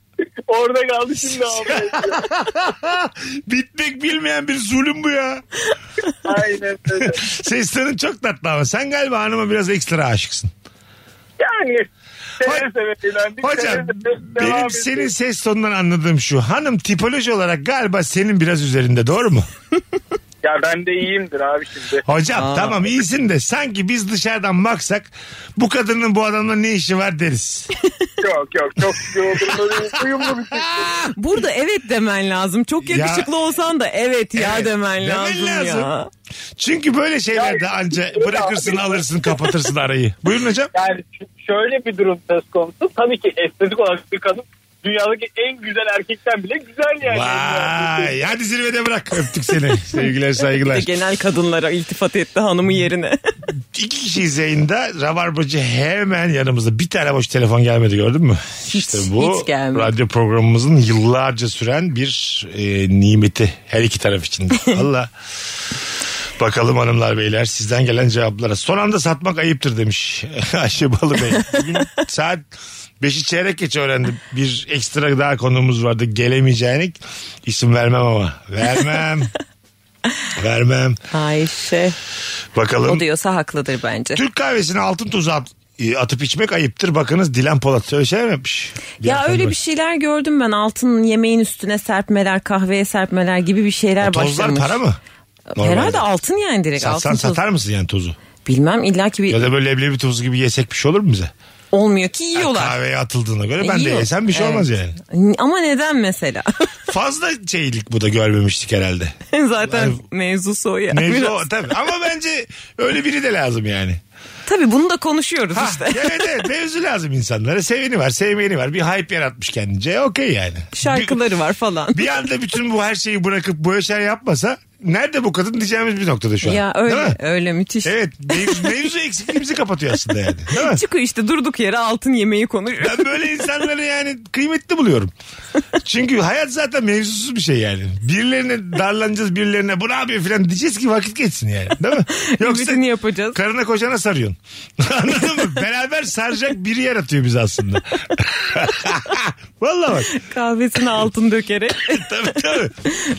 Speaker 5: Orada kaldı şimdi almaya gidiyor.
Speaker 2: Bitmek bilmeyen bir zulüm bu ya.
Speaker 5: Aynen öyle.
Speaker 2: Ses tonun çok tatlı ama sen galiba hanıma biraz ekstra aşıksın.
Speaker 5: Yani
Speaker 2: Ho-
Speaker 5: seve seve eğlendik.
Speaker 2: Hocam
Speaker 5: seve seve devam
Speaker 2: benim
Speaker 5: ettik.
Speaker 2: senin ses tonundan anladığım şu. Hanım tipoloji olarak galiba senin biraz üzerinde doğru mu?
Speaker 5: Ya ben de iyiyimdir abi şimdi.
Speaker 2: Hocam tamam iyisin de sanki biz dışarıdan baksak bu kadının bu adamla ne işi var deriz.
Speaker 5: Yok yok çok yoğurdum. Uyumlu bir şey.
Speaker 3: Burada evet demen lazım. Çok
Speaker 2: Ya-
Speaker 3: yakışıklı olsan da evet ya
Speaker 2: Evet,
Speaker 3: demen,
Speaker 2: demen
Speaker 3: lazım, ya.
Speaker 2: lazım. Çünkü böyle şeylerde anca bırakırsın alırsın kapatırsın arayı. Buyurun hocam.
Speaker 5: Yani ş- şöyle bir durum söz konusu. Tabii ki estetik olarak bir kadın dünyadaki en güzel erkekten bile güzel yani.
Speaker 2: Vay hadi zirvede bırak öptük seni. Sevgiler
Speaker 3: Bir de
Speaker 2: saygılar.
Speaker 3: genel kadınlara iltifat etti hanımı yerine.
Speaker 2: İki kişiyiz yayında. Rabarbacı hemen yanımızda. Bir tane boş telefon gelmedi gördün mü? işte bu
Speaker 3: hiç gelmedi.
Speaker 2: radyo programımızın yıllarca süren bir e, nimeti. Her iki taraf için. de. Valla. Bakalım hanımlar beyler sizden gelen cevaplara. Son anda satmak ayıptır demiş Ayşe Balı Bey. Bugün saat 5'i çeyrek geç öğrendim. Bir ekstra daha konuğumuz vardı. Gelemeyeceğini isim vermem ama. Vermem. vermem.
Speaker 3: Ayşe.
Speaker 2: Bakalım.
Speaker 3: O diyorsa haklıdır bence.
Speaker 2: Türk kahvesine altın tuzu at- e, atıp içmek ayıptır. Bakınız Dilan Polat öyle şeyler mi yapmış?
Speaker 3: Ya
Speaker 2: Dilan
Speaker 3: öyle
Speaker 2: Polat.
Speaker 3: bir şeyler gördüm ben. Altın yemeğin üstüne serpmeler, kahveye serpmeler gibi bir şeyler
Speaker 2: E, Tozlar
Speaker 3: başlamış.
Speaker 2: para mı? Normalde.
Speaker 3: Herhalde altın yani direkt.
Speaker 2: Satsan
Speaker 3: altın toz.
Speaker 2: satar mısın yani tozu?
Speaker 3: Bilmem illaki bir
Speaker 2: Ya da böyle leblebi tozu gibi yesek bir şey olur mu bize?
Speaker 3: olmuyor ki yiyorlar. E,
Speaker 2: Kahveye atıldığına göre ben de
Speaker 3: Yiyor.
Speaker 2: yesem bir şey
Speaker 3: Evet.
Speaker 2: olmaz yani.
Speaker 3: Ama neden mesela?
Speaker 2: Fazla şeylik bu da görmemiştik herhalde.
Speaker 3: Zaten mevzusu o ya.
Speaker 2: Mevzu
Speaker 3: Biraz-
Speaker 2: o tabii. Ama bence öyle biri de lazım yani.
Speaker 3: Tabii bunu da konuşuyoruz
Speaker 2: Ha,
Speaker 3: işte.
Speaker 2: evet evet mevzu lazım insanlara. Seveni var sevmeyeni var. Bir hype yaratmış kendince okey yani. Bir-
Speaker 3: Şarkıları var falan.
Speaker 2: bir anda bütün bu her şeyi bırakıp böyle şeyler yapmasa nerede bu kadın diyeceğimiz bir noktada şu an.
Speaker 3: Ya
Speaker 2: Değil mi?
Speaker 3: öyle öyle müthiş. E,
Speaker 2: Evet mevzu, mevzu eksikliğimizi kapatıyor aslında yani. Değil mi?
Speaker 3: Çıkıyor işte durduk yere altın yemeği konuşuyor.
Speaker 2: Ben böyle insanları yani kıymetli buluyorum. Çünkü hayat zaten mevzusuz bir şey yani. Birilerine darlanacağız birilerine bu ne yapıyor falan diyeceğiz ki vakit geçsin yani. Değil mi?
Speaker 3: Hizmetini yapacağız.
Speaker 2: karına kocana sarıyorsun. Anladın mı? Beraber saracak biri yaratıyor bizi aslında. Vallahi bak.
Speaker 3: Kahvesine altın dökerek.
Speaker 2: Tabii tabii.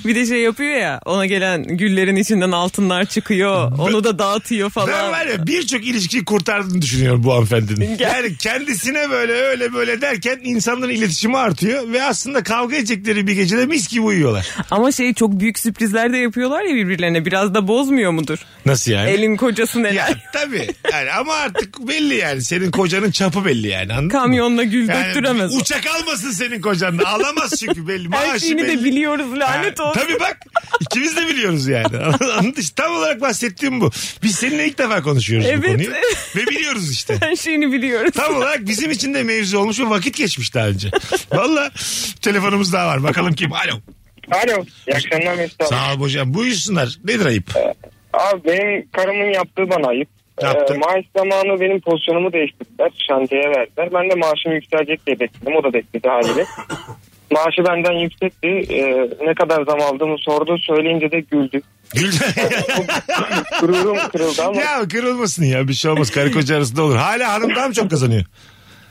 Speaker 3: bir de şey yapıyor ya ona gelen içinden güllerin içinden altınlar çıkıyor. Onu da dağıtıyor
Speaker 2: Ben
Speaker 3: falan.
Speaker 2: var ya birçok ilişkiyi kurtardığını düşünüyorum bu hanımefendinin. Yani kendisine böyle öyle böyle derken insanların iletişimi artıyor ve aslında kavga edecekleri bir gecede mis gibi uyuyorlar.
Speaker 3: Ama şey çok büyük sürprizler de yapıyorlar ya birbirlerine. Biraz da bozmuyor mudur?
Speaker 2: Nasıl yani?
Speaker 3: Elin kocası
Speaker 2: Ya
Speaker 3: neler?
Speaker 2: tabii. Yani ama artık belli yani. Senin kocanın çapı belli yani. Anladın mı?
Speaker 3: Kamyonla gül
Speaker 2: Yani
Speaker 3: döktüremez. o.
Speaker 2: uçak almasın senin kocan da. Alamaz çünkü belli.
Speaker 3: Her
Speaker 2: Maaşı
Speaker 3: şeyini
Speaker 2: belli.
Speaker 3: de biliyoruz lanet
Speaker 2: Ha,
Speaker 3: olsun.
Speaker 2: Tabii bak ikimiz de biliyoruz yani. Anladın? İşte Tam olarak bahsettiğim bu. Biz seninle ilk defa konuşuyoruz bu
Speaker 3: Evet,
Speaker 2: konuyu.
Speaker 3: evet.
Speaker 2: Ve biliyoruz işte.
Speaker 3: Her şeyini biliyoruz.
Speaker 2: Tam olarak bizim için de mevzu olmuş ve vakit geçmiş daha önce. Valla telefonumuz daha var. Bakalım kim? Alo.
Speaker 4: Alo. İyi akşamlar Mesut abi.
Speaker 2: Sağ ol hocam. Buyursunlar. Nedir ayıp?
Speaker 4: Abi benim karımın yaptığı bana ayıp.
Speaker 2: Yaptı.
Speaker 4: Ee, maaş zamanı benim pozisyonumu değiştirdiler. Şantiyeye verdiler. Ben de maaşım yükselecek diye bekledim. O da bekledi haliyle. Maaşı benden yüksekti. Ee, ne kadar zam aldığımı sordu. Söyleyince de güldü.
Speaker 2: Güldü.
Speaker 4: Gururum kırıldı ama.
Speaker 2: ya kırılmasın ya. Bir şey olmaz. Karı koca arasında olur. Hala hanım daha mı çok kazanıyor?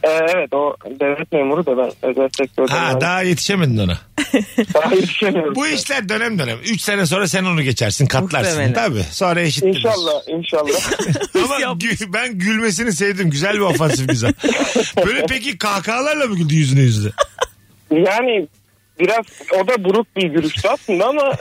Speaker 4: Ee, evet o devlet memuru da ben özel sektörde.
Speaker 2: Ha daha yetişemedin ona.
Speaker 4: daha yetişemiyorum.
Speaker 2: Bu işler dönem dönem. 3 sene sonra sen onu geçersin katlarsın.
Speaker 3: Muhtemelen.
Speaker 2: Tabii sonra eşitlenir.
Speaker 4: İnşallah inşallah.
Speaker 2: Ama gü- ben gülmesini sevdim. Güzel bir ofansif mizah. Böyle peki kahkahalarla mı güldü yüzüne yüzüne?
Speaker 4: yani biraz o da buruk bir gülüştü aslında ama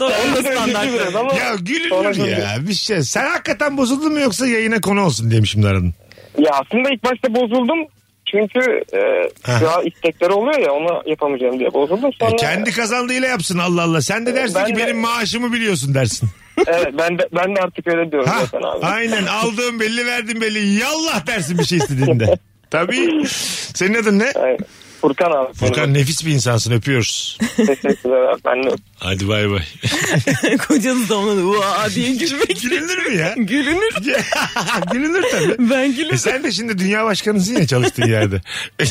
Speaker 3: Doğru
Speaker 4: Üzücü biraz
Speaker 3: standartları.
Speaker 4: ama
Speaker 2: Ya
Speaker 4: sonra
Speaker 2: gülünür
Speaker 4: güldü.
Speaker 2: ya bir şey. Sen hakikaten bozuldun mu yoksa yayına konu olsun diye mi şimdi aradın?
Speaker 4: Ya aslında ilk başta bozuldum. Çünkü e,
Speaker 2: Ha.
Speaker 4: ya istekleri oluyor ya onu yapamayacağım diye bozuldum. Sonra
Speaker 2: E, kendi kazandığıyla yapsın Allah Allah. Sen de dersin
Speaker 4: Ben
Speaker 2: ki
Speaker 4: de-
Speaker 2: benim maaşımı biliyorsun dersin.
Speaker 4: Evet, ben de, ben de artık öyle diyorum
Speaker 2: Ha,
Speaker 4: zaten abi.
Speaker 2: aynen aldığım belli verdim belli. Yallah dersin bir şey istediğinde. Tabii. Senin adın ne?
Speaker 4: Aynen. Furkan abi.
Speaker 2: Furkan nefis bir insansın öpüyoruz.
Speaker 4: Teşekkürler abi. Ben de
Speaker 2: Hadi bay bay.
Speaker 3: Kocanız da ona vaa diye gülmek.
Speaker 2: Gülünür mü ya?
Speaker 3: Gülünür.
Speaker 2: Gülünür tabii.
Speaker 3: Ben
Speaker 2: E
Speaker 3: gülürüm.
Speaker 2: sen de şimdi dünya başkanısın ya çalıştığın yerde.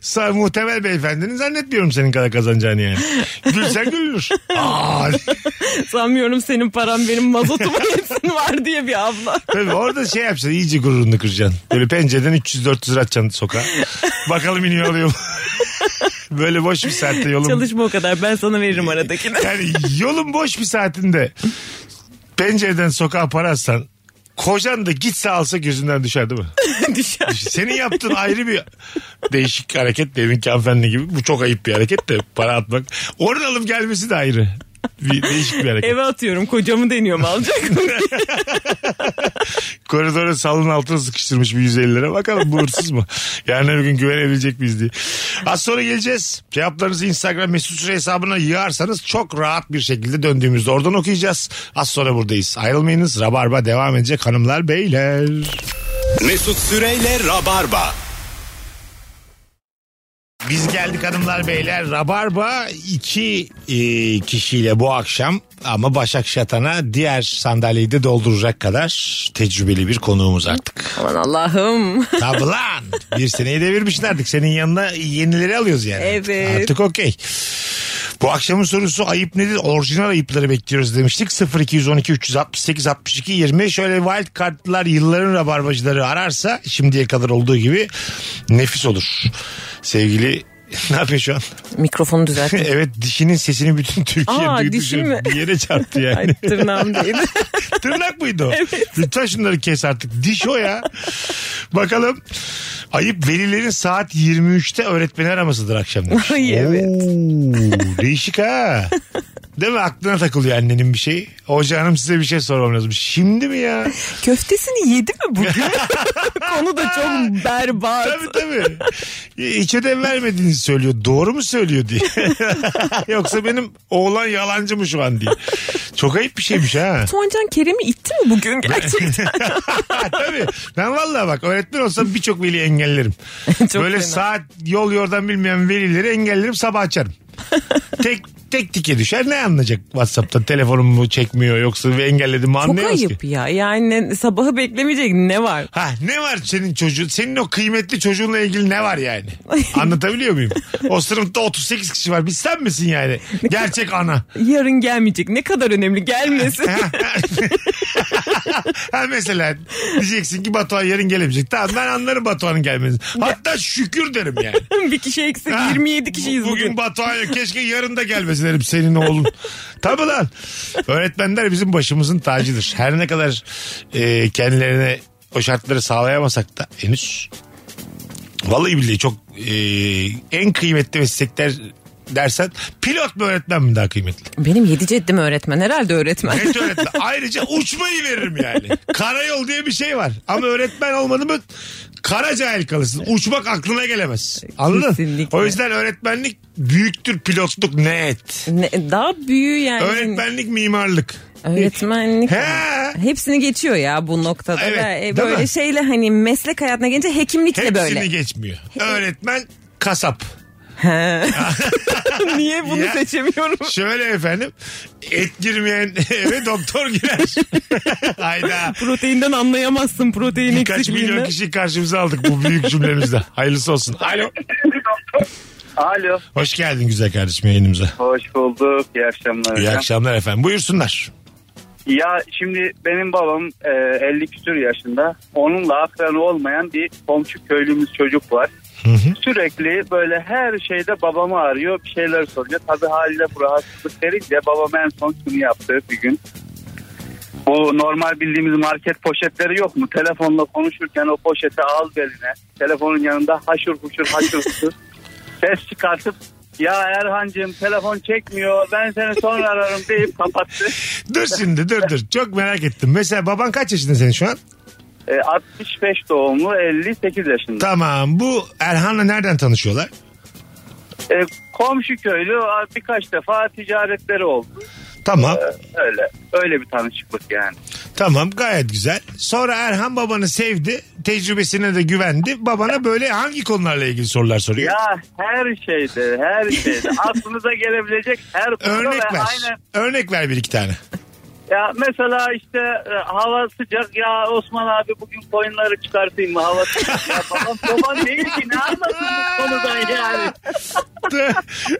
Speaker 2: Sa muhtemel beyefendinin zannetmiyorum senin kadar kazanacağını yani. Gülsen gülünür. Aa,
Speaker 3: Sanmıyorum senin paran benim mazotumun hepsinin var diye bir abla.
Speaker 2: tabii orada şey yapacaksın iyice gururunu kıracaksın. Böyle pencereden 300-400 lira atacaksın sokağa. Bakalım iniyor alıyor mu? Böyle boş bir saatte yolun.
Speaker 3: Çalışma o kadar ben sana veririm aradakini.
Speaker 2: Yani yolun boş bir saatinde pencereden sokağa para atsan kocan da gitse alsa gözünden düşer değil mi?
Speaker 3: Düşer.
Speaker 2: Senin yaptığın ayrı bir değişik hareket deminki hanımefendi gibi. Bu çok ayıp bir hareket de para atmak. Oradan alıp gelmesi de ayrı. Bir, değişik bir hareket.
Speaker 3: Eve atıyorum kocamı deniyorum alacak mı?
Speaker 2: Koridora salın altına sıkıştırmış bir 150 lira. Bakalım bu hırsız mı? Yarın öbür gün güvenebilecek miyiz diye. Az sonra geleceğiz. Cevaplarınızı Instagram mesut süre hesabına yığarsanız çok rahat bir şekilde döndüğümüzde oradan okuyacağız. Az sonra buradayız. Ayrılmayınız. Rabarba devam edecek hanımlar beyler.
Speaker 1: Mesut Süreyle Rabarba.
Speaker 2: Biz geldik hanımlar beyler. Rabarba iki e, kişiyle bu akşam ama Başak Şatan'a diğer sandalyeyi de dolduracak kadar tecrübeli bir konuğumuz artık.
Speaker 3: Aman Allah'ım.
Speaker 2: Tabi lan. Bir seneyi devirmişsin artık. Senin yanına yenileri alıyoruz yani.
Speaker 3: Evet.
Speaker 2: Artık okey. Bu akşamın sorusu ayıp nedir? Orijinal ayıpları bekliyoruz demiştik. 0212 368 62 20. Şöyle wild kartlar yılların rabarbacıları ararsa şimdiye kadar olduğu gibi nefis olur. Sevgili ne yapıyor şu an?
Speaker 3: Mikrofonu düzelt.
Speaker 2: evet dişinin sesini bütün Türkiye
Speaker 3: Aa,
Speaker 2: duydu.
Speaker 3: dişi
Speaker 2: Şu-
Speaker 3: mi?
Speaker 2: Bir yere çarptı yani.
Speaker 3: Ay tırnağım değdi.
Speaker 2: Tırnak mıydı o? Lütfen şunları kes artık. Diş o ya. Bakalım. Ayıp velilerin saat 23'te öğretmeni aramasıdır akşam demiş.
Speaker 3: Ay, evet.
Speaker 2: Oo, değişik ha. Değil mi? Aklına takılıyor annenin bir şey. Hoca hanım size bir şey sormam lazım. Şimdi mi ya?
Speaker 3: Köftesini yedi mi bugün? Konu da çok berbat.
Speaker 2: tabii tabii. Hiç ödev vermediğini söylüyor. Doğru mu söylüyor diye. Yoksa benim oğlan yalancı mı şu an diye. Çok ayıp bir şeymiş ha.
Speaker 3: Tuğancan Kerem'i itti mi bugün gerçekten?
Speaker 2: Tabii. Ben vallahi bak öğretmen olsam birçok veli engellerim.
Speaker 3: Çok
Speaker 2: Böyle
Speaker 3: fena.
Speaker 2: saat yol yordan bilmeyen velileri engellerim sabah açarım. tek tek tike düşer ne anlayacak Whatsapp'tan telefonumu çekmiyor yoksa ve engelledim mi
Speaker 3: Çok
Speaker 2: anlayamaz
Speaker 3: ayıp
Speaker 2: ki.
Speaker 3: ya. Yani sabahı beklemeyecek ne var?
Speaker 2: Ha ne var senin çocuğun senin o kıymetli çocuğunla ilgili ne var yani? Anlatabiliyor muyum? O sınıfta 38 kişi var. Biz sen misin yani? Gerçek ana.
Speaker 3: Yarın gelmeyecek. Ne kadar önemli gelmesin.
Speaker 2: Ha mesela diyeceksin ki Batuhan yarın gelemeyecek. Tamam ben anlarım Batuhan'ın gelmesini. Hatta şükür derim yani.
Speaker 3: bir kişi eksik
Speaker 2: Ha,
Speaker 3: 27 kişiyiz
Speaker 2: bu-
Speaker 3: bugün.
Speaker 2: Batuhan yok. Keşke yarın da gelmese. ederim senin oğlun. Tabii lan. Öğretmenler bizim başımızın tacıdır. Her ne kadar e, kendilerine o şartları sağlayamasak da henüz. Vallahi billahi çok e, en kıymetli meslekler dersen pilot mu öğretmen mi daha kıymetli?
Speaker 3: Benim yedi ceddim öğretmen. Herhalde öğretmen.
Speaker 2: Evet öğretmen. Ayrıca uçmayı veririm yani. Karayol diye bir şey var. Ama öğretmen olmadı mı kara cahil kalırsın. Uçmak aklına gelemez. Anladın?
Speaker 3: Kesinlikle.
Speaker 2: O yüzden öğretmenlik büyüktür pilotluk net.
Speaker 3: Ne- daha büyüğü yani.
Speaker 2: Öğretmenlik mimarlık.
Speaker 3: Öğretmenlik.
Speaker 2: He.
Speaker 3: Hepsini geçiyor ya bu noktada.
Speaker 2: Evet,
Speaker 3: Ve, e,
Speaker 2: değil
Speaker 3: böyle
Speaker 2: mi?
Speaker 3: şeyle hani meslek hayatına gelince hekimlik de
Speaker 2: Hepsini
Speaker 3: böyle.
Speaker 2: geçmiyor. Öğretmen kasap.
Speaker 3: Niye bunu
Speaker 2: Ya.
Speaker 3: seçemiyorum?
Speaker 2: Şöyle efendim et girmeyen eve doktor girer. Hayda.
Speaker 3: Proteinden anlayamazsın protein
Speaker 2: Birkaç milyon
Speaker 3: eksikliğinden.
Speaker 2: kişi karşımıza aldık bu büyük cümlemizde. Hayırlısı olsun. Alo.
Speaker 4: Alo.
Speaker 2: Hoş geldin güzel kardeşim yayınımıza.
Speaker 4: Hoş bulduk. İyi akşamlar.
Speaker 2: İyi
Speaker 4: hocam.
Speaker 2: akşamlar efendim. Buyursunlar.
Speaker 4: Ya şimdi benim babam e, 50 küsür yaşında. Onunla akranı olmayan bir komşu köylümüz çocuk var. Sürekli böyle her şeyde babamı arıyor bir şeyler soruyor. Tabii haliyle bu rahatsızlık verince babam en son şunu yaptı bir gün. Bu normal bildiğimiz market poşetleri yok mu? Telefonla konuşurken o poşeti al beline. Telefonun yanında haşır huşur haşır huşur. Ses çıkartıp ya Erhan'cığım telefon çekmiyor ben seni sonra ararım deyip kapattı.
Speaker 2: Dur şimdi dur dur. Çok merak ettim. Mesela baban kaç yaşında senin şu an?
Speaker 4: E, 65 doğumlu 58 yaşında.
Speaker 2: Tamam bu Erhan'la nereden tanışıyorlar?
Speaker 4: E, komşu köylü a, birkaç defa ticaretleri oldu.
Speaker 2: Tamam
Speaker 4: Öyle öyle bir tanışıklık yani.
Speaker 2: tamam gayet güzel. Sonra Erhan babanı sevdi. Tecrübesine de güvendi. Babana böyle hangi konularla ilgili sorular soruyor?
Speaker 4: Ya her şeyde her şeyde aklınıza gelebilecek her konuda
Speaker 2: Örnek
Speaker 4: ve
Speaker 2: ver.
Speaker 4: aynen.
Speaker 2: Örnek ver bir iki tane.
Speaker 4: Ya mesela işte e, hava sıcak ya Osman abi bugün koyunları çıkartayım mı hava sıcak ya babam babam değil ki ne anlasın bu konudan yani.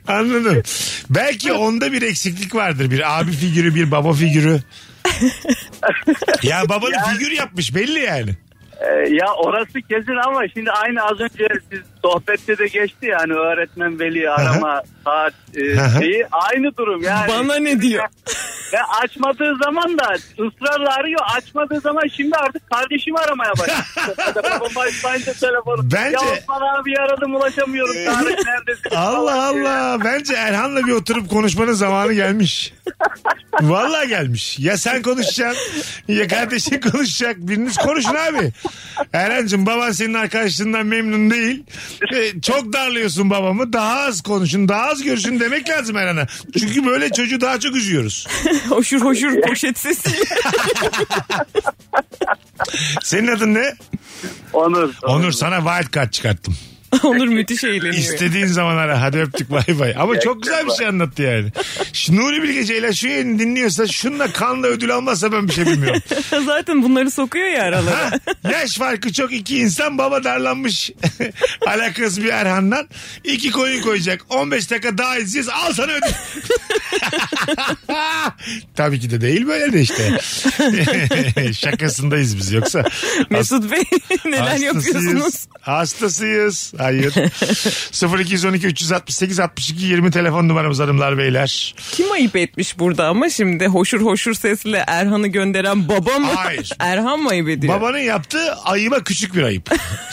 Speaker 2: Anladım. Belki onda bir eksiklik vardır. Bir abi figürü, bir baba figürü. ya babanı figür yapmış belli yani.
Speaker 4: E, ya orası kesin ama şimdi aynı az önce siz sohbette de geçti yani öğretmen veli arama saat e,
Speaker 2: Hı hı.
Speaker 4: şeyi aynı durum yani.
Speaker 3: Bana ne diyor?
Speaker 4: Ve açmadığı zaman da ısrarla arıyor. Açmadığı zaman şimdi artık kardeşimi aramaya başladı. Babam başlayınca telefonu.
Speaker 2: Bence-
Speaker 4: Ya Osman abi aradım ulaşamıyorum. Tarık neredesin?
Speaker 2: Allah
Speaker 4: falan diyor.
Speaker 2: Allah. Bence Erhan'la bir oturup konuşmanın zamanı gelmiş. Vallahi gelmiş. Ya sen konuşacaksın ya kardeşin konuşacak. Biriniz konuşun abi. Erhan'cığım baban senin arkadaşlığından memnun değil. Ee, çok darlıyorsun babamı. Daha az konuşun, daha az görüşün demek lazım Erhan'a. Çünkü böyle çocuğu daha çok üzüyoruz.
Speaker 3: hoşur hoşur poşet sesi.
Speaker 2: Senin adın ne?
Speaker 4: Onur.
Speaker 2: Onur sana wild card çıkarttım.
Speaker 3: Onur müthiş eğleniyor.
Speaker 2: İstediğin zaman ara. Hadi öptük bay bay. Ama çok güzel bir şey anlattı yani. Şimdi Nuri Bilge Ceylan şu yayını dinliyorsa şununla kanla ödül almazsa ben bir şey bilmiyorum.
Speaker 3: Zaten bunları sokuyor ya aralara.
Speaker 2: Ha, yaş farkı çok iki insan baba darlanmış. Alakası bir Erhan'dan. İki koyun koyacak. 15 dakika daha izleyeceğiz. Al sana ödül. Tabii ki de değil böyle de işte. Şakasındayız biz yoksa.
Speaker 3: Mesut Bey neler yapıyorsunuz?
Speaker 2: Hastasıyız. Hayır. 0212 368 62 20 telefon numaramız hanımlar beyler.
Speaker 3: Kim ayıp etmiş burada ama şimdi hoşur hoşur sesle Erhan'ı gönderen baba mı?
Speaker 2: Hayır.
Speaker 3: Erhan mı ayıp ediyor?
Speaker 2: Babanın yaptığı ayıba küçük bir ayıp.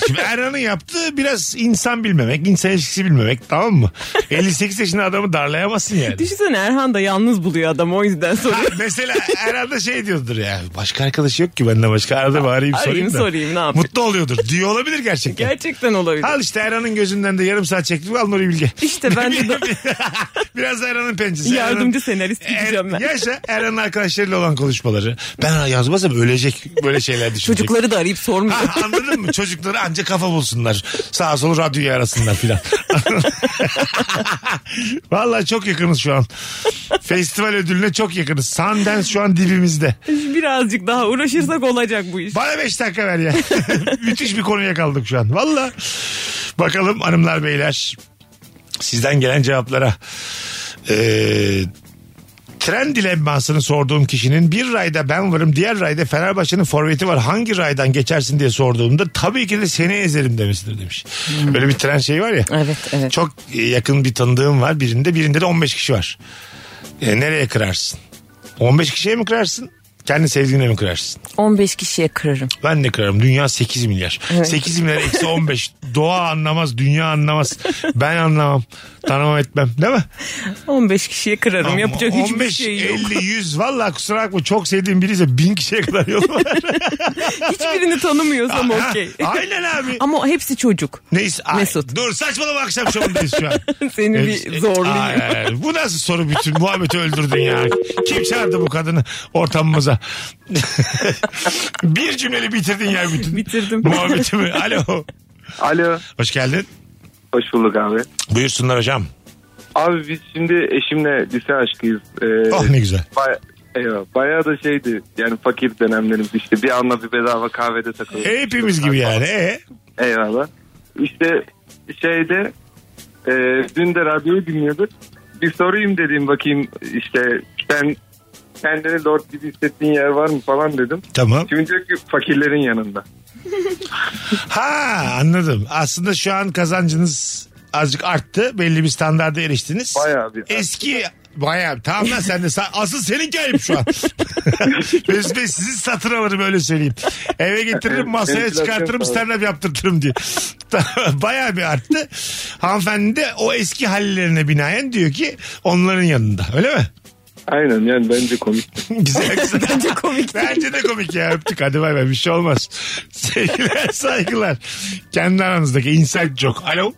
Speaker 2: Şimdi Erhan'ın yaptığı biraz insan bilmemek, insan ilişkisi bilmemek tamam mı? 58 yaşında adamı darlayamazsın yani.
Speaker 3: Düşünsene Erhan da yalnız buluyor adamı o yüzden
Speaker 2: Ha,
Speaker 3: soruyor.
Speaker 2: Mesela Erhan'da şey diyordur ya. Başka arkadaşı yok ki benden başka. Arada bir arayayım sorayım
Speaker 3: Arayayım
Speaker 2: da.
Speaker 3: sorayım, ne yapayım?
Speaker 2: Mutlu oluyordur. Diyor olabilir gerçekten.
Speaker 3: Gerçekten olabilir.
Speaker 2: Al işte Erhan'ın gözünden de yarım saat çektik. Al Nuri Bilge.
Speaker 3: İşte ben de
Speaker 2: Biraz da Erhan'ın pençesi.
Speaker 3: yardımcı
Speaker 2: Erhan'ın-
Speaker 3: senarist gideceğim
Speaker 2: Er,
Speaker 3: ben.
Speaker 2: yaşa Erhan'ın arkadaşlarıyla olan konuşmaları. Ben yazmasam ölecek böyle şeyler düşünecek.
Speaker 3: Çocukları da arayıp sormuyor.
Speaker 2: Ha, anladın mı? Çocukları anca kafa bulsunlar. Sağa sola radyoyu arasınlar filan. Vallahi çok yakınız şu an. Festival ödülüne çok yakınız. Sundance şu an dibimizde.
Speaker 3: Birazcık daha uğraşırsak olacak bu iş.
Speaker 2: Bana 5 dakika ver ya. Müthiş bir konuya kaldık şu an. Valla. Bakalım hanımlar beyler. Sizden gelen cevaplara. Ee, Tren dilemmasını sorduğum kişinin bir rayda ben varım diğer rayda Fenerbahçe'nin forveti var hangi raydan geçersin diye sorduğumda tabii ki de seni ezerim demesidir demiş. Böyle bir tren şeyi var ya.
Speaker 3: Evet, evet.
Speaker 2: Çok e, yakın bir tanıdığım var birinde birinde de 15 kişi var. E, nereye kırarsın? 15 kişiye mi kırarsın? Kendi sevdiğine mi kırarsın?
Speaker 3: 15 kişiye kırarım.
Speaker 2: Ben de kırarım. Dünya 8 milyar. 8 milyar eksi 15. Doğa anlamaz, dünya anlamaz. Ben anlamam. Tanımam etmem. Değil mi?
Speaker 3: 15 kişiye kırarım.
Speaker 2: Ama
Speaker 3: Yapacak hiçbir
Speaker 2: 15,
Speaker 3: şey yok.
Speaker 2: 50, 100. Valla kusura bakma çok sevdiğim biriyse 1000 kişiye kadar yol var.
Speaker 3: Hiçbirini tanımıyorsam
Speaker 2: Ha,
Speaker 3: okey.
Speaker 2: Aynen abi.
Speaker 3: Ama hepsi çocuk.
Speaker 2: Neyse. ay-
Speaker 3: Mesut.
Speaker 2: Dur saçmalama akşam şovundayız şu an.
Speaker 3: Seni bir
Speaker 2: Hepsi-
Speaker 3: zorlayayım.
Speaker 2: Ay, ay, ay. Bu nasıl soru bütün muhabbeti öldürdün ya. Kim çağırdı bu kadını ortamımıza? bir cümleli bitirdin ya bütün.
Speaker 3: Bitirdim.
Speaker 2: Muhabbetimi. Alo.
Speaker 4: Alo.
Speaker 2: Hoş geldin.
Speaker 4: Hoş bulduk abi.
Speaker 2: Buyursunlar hocam.
Speaker 4: Abi biz şimdi eşimle lise aşkıyız. Ee,
Speaker 2: Oh ne güzel.
Speaker 4: baya- eyvah, bayağı da şeydi yani fakir dönemlerimiz işte bir anla bir bedava kahvede takılıyoruz.
Speaker 2: Hepimiz gibi yani. E,
Speaker 4: Eyvallah. İşte şeyde e, dün de radyoyu dinliyorduk. Bir sorayım dedim bakayım işte sen kendini lord gibi hissettiğin yer var mı falan dedim.
Speaker 2: tamam.
Speaker 4: Şimdi diyor ki fakirlerin yanında.
Speaker 2: Ha anladım. Aslında şu an kazancınız azıcık arttı. Belli bir standarda eriştiniz.
Speaker 4: Bayağı bir.
Speaker 2: Eski bayağı tamam lan sen de sa- asıl senin gelip şu an. Mesut Bey sizi satın alırım öyle söyleyeyim. Eve getiririm masaya
Speaker 4: Enflasyon
Speaker 2: çıkartırım
Speaker 4: falan.
Speaker 2: stand up yaptırtırım diye. Tamam, bayağı bir arttı. Hanımefendi de o eski hallerine binaen diyor ki onların yanında öyle mi?
Speaker 4: Aynen yani bence komik.
Speaker 2: güzel güzel.
Speaker 3: Bence komik.
Speaker 2: Bence de komik ya öptük hadi bay bay bir şey olmaz. Sevgiler saygılar. Kendi aranızdaki insan çok. Alo.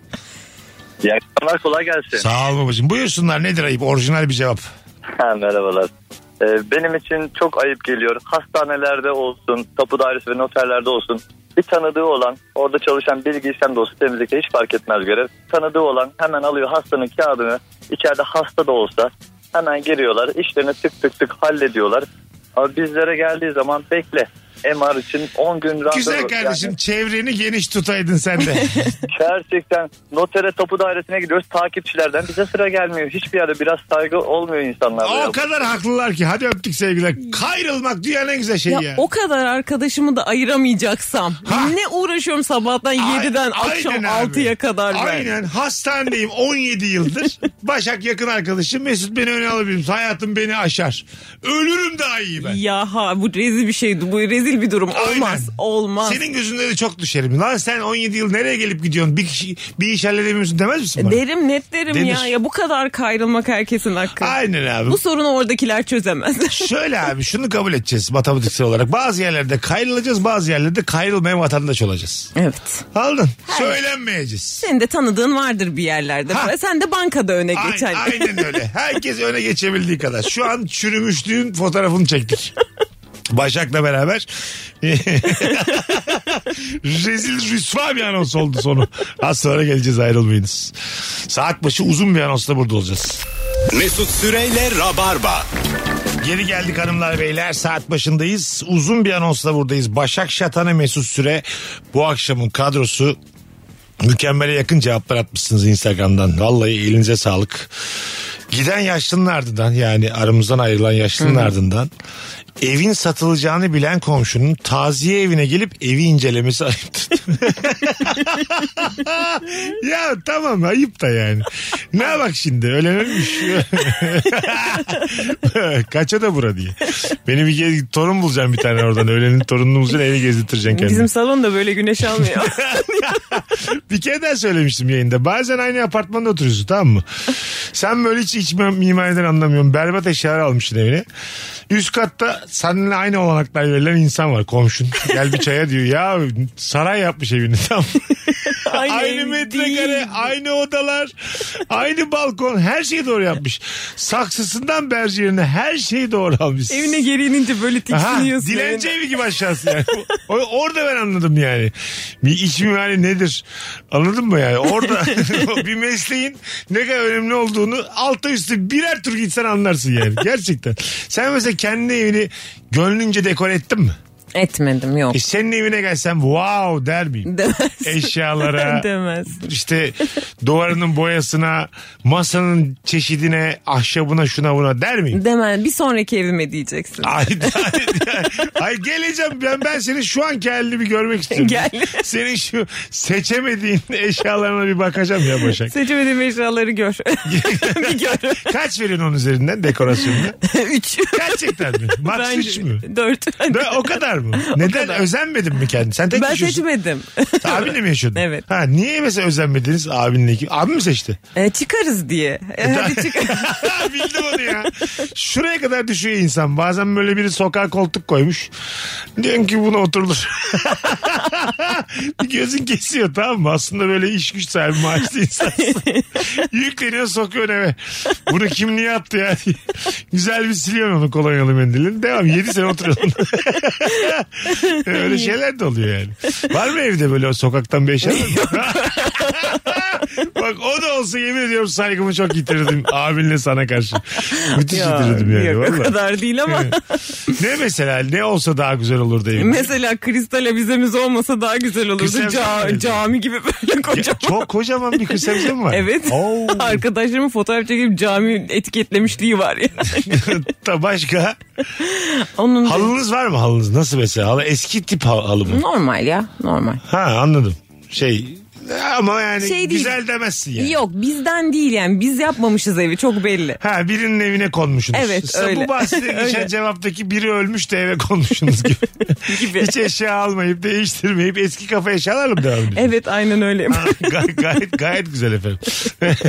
Speaker 5: İyi akşamlar kolay gelsin.
Speaker 2: Sağ ol babacığım. Buyursunlar nedir ayıp orijinal bir cevap.
Speaker 5: Ha, merhabalar. Ee, benim için çok ayıp geliyor. Hastanelerde olsun, tapu dairesi ve noterlerde olsun bir tanıdığı olan, orada çalışan bilgi işlem de olsun temizlikte hiç fark etmez görev. Tanıdığı olan hemen alıyor hastanın kağıdını, içeride hasta da olsa hemen giriyorlar, işlerini tık tık tık hallediyorlar. Ama bizlere geldiği zaman bekle. MR için 10 gün randevu.
Speaker 2: Güzel kardeşim çevreni geniş tutaydın sen de.
Speaker 5: Yani gerçekten notere tapu dairesine gidiyoruz takipçilerden. Bize sıra gelmiyor. Hiçbir yerde biraz saygı olmuyor insanlarda. ya.
Speaker 2: o kadar haklılar ki hadi öptük sevgiler. Kayrılmak dünyanın en güzel şeyi
Speaker 3: Ya,
Speaker 2: ya.
Speaker 3: o kadar arkadaşımı da ayıramayacaksam
Speaker 2: Ha.
Speaker 3: ne uğraşıyorum sabahtan 7'den
Speaker 2: Ay-
Speaker 3: akşam
Speaker 2: aynen abi.
Speaker 3: 6'ya kadar ben.
Speaker 2: Aynen hastanedeyim 17 yıldır. Başak yakın arkadaşım Mesut beni öne alabilir. misin? Hayatım beni aşar. Ölürüm daha iyi ben.
Speaker 3: Ya ha bu rezil bir şeydi. Bu rezil bir durum.
Speaker 2: Aynen.
Speaker 3: Olmaz. Olmaz.
Speaker 2: Senin gözünde de çok düşerim. Lan sen 17 yıl nereye gelip gidiyorsun? Bir kişi bir iş halledemiyorsun demez misin bana?
Speaker 3: Derim net derim
Speaker 2: Denir.
Speaker 3: ya. Ya bu kadar kayrılmak herkesin hakkı.
Speaker 2: Aynen abi.
Speaker 3: Bu sorunu oradakiler çözemez.
Speaker 2: Şöyle abi şunu kabul edeceğiz matematiksel olarak. Bazı yerlerde kayrılacağız bazı yerlerde kayrılmayan vatandaş olacağız.
Speaker 3: evet.
Speaker 2: Aldın. Söylenmeyeceğiz.
Speaker 3: Senin de tanıdığın vardır bir yerlerde.
Speaker 2: Ha.
Speaker 3: Sen de bankada öne
Speaker 2: Ay-
Speaker 3: geçen.
Speaker 2: aynen öyle. Herkes öne geçebildiği kadar. Şu an çürümüşlüğün fotoğrafını çektik. Başak'la beraber rezil rüsva bir anons oldu sonu. Az sonra geleceğiz ayrılmayınız. Saat başı uzun bir anonsla burada olacağız.
Speaker 1: Mesut Süreyle Rabarba.
Speaker 2: Geri geldik hanımlar beyler saat başındayız. Uzun bir anonsla buradayız. Başak Şatan'a Mesut Süre bu akşamın kadrosu mükemmele yakın cevaplar atmışsınız Instagram'dan. Vallahi elinize sağlık. Giden yaşlının ardından yani aramızdan ayrılan yaşlının ardından evin satılacağını bilen komşunun taziye evine gelip evi incelemesi ayıptır. ya tamam ayıp da yani. Ne bak şimdi öğlenilmiş. Kaça da bura diye. Beni bir kez torun bulacağım bir tane oradan. Öğlenin torununu bulacaksın evi gezdirtireceksin kendini.
Speaker 3: Bizim salon da böyle güneş almıyor.
Speaker 2: Bir kere daha söylemiştim yayında. Bazen aynı apartmanda oturuyorsun tamam mı? Sen böyle hiç iç mimariden anlamıyorsun. Berbat eşyalar almışsın evine. Üst katta seninle aynı olanaklar verilen insan var komşun. Gel bir çaya diyor. Ya saray yapmış evini tamam mı?
Speaker 3: Aynı
Speaker 2: aynı
Speaker 3: ev
Speaker 2: metrekare,
Speaker 3: değil.
Speaker 2: aynı odalar, aynı balkon her şeyi doğru yapmış. Saksısından berjerine her şeyi doğru almış.
Speaker 3: Evine geri inince böyle
Speaker 2: Aha,
Speaker 3: tiksiniyorsun.
Speaker 2: dilenci evi gibi aşağısı yani. O- orada ben anladım yani. Bir iç mimari nedir? Anladın mı yani? Orada bir mesleğin ne kadar önemli olduğunu altta üstü birer tur gitsen anlarsın yani. Gerçekten. Sen mesela kendi evini gönlünce dekore ettin mi?
Speaker 3: Etmedim yok.
Speaker 2: E senin evine gelsem wow der miyim?
Speaker 3: Demez.
Speaker 2: Eşyalara
Speaker 3: Demez.
Speaker 2: işte duvarının boyasına, masanın çeşidine, ahşabına, şuna buna der miyim?
Speaker 3: Demez. Bir sonraki evime diyeceksin.
Speaker 2: Ay, ay, ay geleceğim ben ben seni şu anki halini bir görmek istiyorum.
Speaker 3: Gel.
Speaker 2: Senin şu seçemediğin eşyalarına bir bakacağım ya Başak.
Speaker 3: Seçemediğim eşyaları gör. bir gör.
Speaker 2: Kaç verin onun üzerinden dekorasyonuna?
Speaker 3: Üç.
Speaker 2: Gerçekten mi? Max
Speaker 3: Bence
Speaker 2: 3 mü?
Speaker 3: Dört.
Speaker 2: Dö- O kadar mı? Neden
Speaker 3: kadar.
Speaker 2: özenmedin mi kendin? Sen tek
Speaker 3: ben
Speaker 2: yaşıyorsun.
Speaker 3: seçmedim.
Speaker 2: Abinle mi yaşıyordun?
Speaker 3: Evet.
Speaker 2: Ha, niye mesela özenmediniz abinle? ki? Abim mi seçti?
Speaker 3: E, çıkarız diye. E, hadi çık.
Speaker 2: Bildim onu ya. Şuraya kadar düşüyor insan. Bazen böyle biri sokağa koltuk koymuş. Diyorsun ki buna oturulur. Gözün kesiyor tamam mı? Aslında böyle iş güç sahibi maaşlı insansın. Yükleniyor sokuyor eve. Bunu kim niye attı ya? diye. Güzel bir siliyorsun onu kolonyalı mendilini. Devam 7 sene oturuyorsun. Öyle şeyler de oluyor yani. Var mı evde böyle o sokaktan bir eşya? var mı? Bak o da olsa yemin ediyorum saygımı çok yitirdim abinle sana karşı. Müthiş yitirdim yani
Speaker 3: yok, o
Speaker 2: valla.
Speaker 3: kadar değil ama
Speaker 2: Ne mesela ne olsa daha güzel olurdu evim.
Speaker 3: mesela kristal avizemiz olmasa daha güzel olurdu.
Speaker 2: Kristal
Speaker 3: Ca-
Speaker 2: avize.
Speaker 3: cami gibi böyle kocaman.
Speaker 2: Çok kocaman bir kız sebze mi var?
Speaker 3: Evet.
Speaker 2: Oo.
Speaker 3: Arkadaşlarımın fotoğraf çekip cami etiketlemişliği var ya.
Speaker 2: Ta başka.
Speaker 3: Onun
Speaker 2: Halınız var mı halınız? Nasıl mesela? Halı eski tip hal- halı mı?
Speaker 3: normal ya normal.
Speaker 2: Ha anladım. Şey ama yani
Speaker 3: Şey değil.
Speaker 2: güzel demezsin yani.
Speaker 3: Yok bizden değil yani biz yapmamışız evi çok belli.
Speaker 2: Ha birinin evine konmuşsunuz.
Speaker 3: Evet,
Speaker 2: Sa- Bu
Speaker 3: öyle.
Speaker 2: bahsede geçen
Speaker 3: Öyle.
Speaker 2: cevaptaki biri ölmüş de eve konmuşsunuz gibi.
Speaker 3: Gibi.
Speaker 2: Hiç eşya almayıp değiştirmeyip eski kafa eşyalarla mı devam ediyorsunuz?
Speaker 3: Evet aynen öyle.
Speaker 2: Ha, gay- gayet gayet güzel efendim.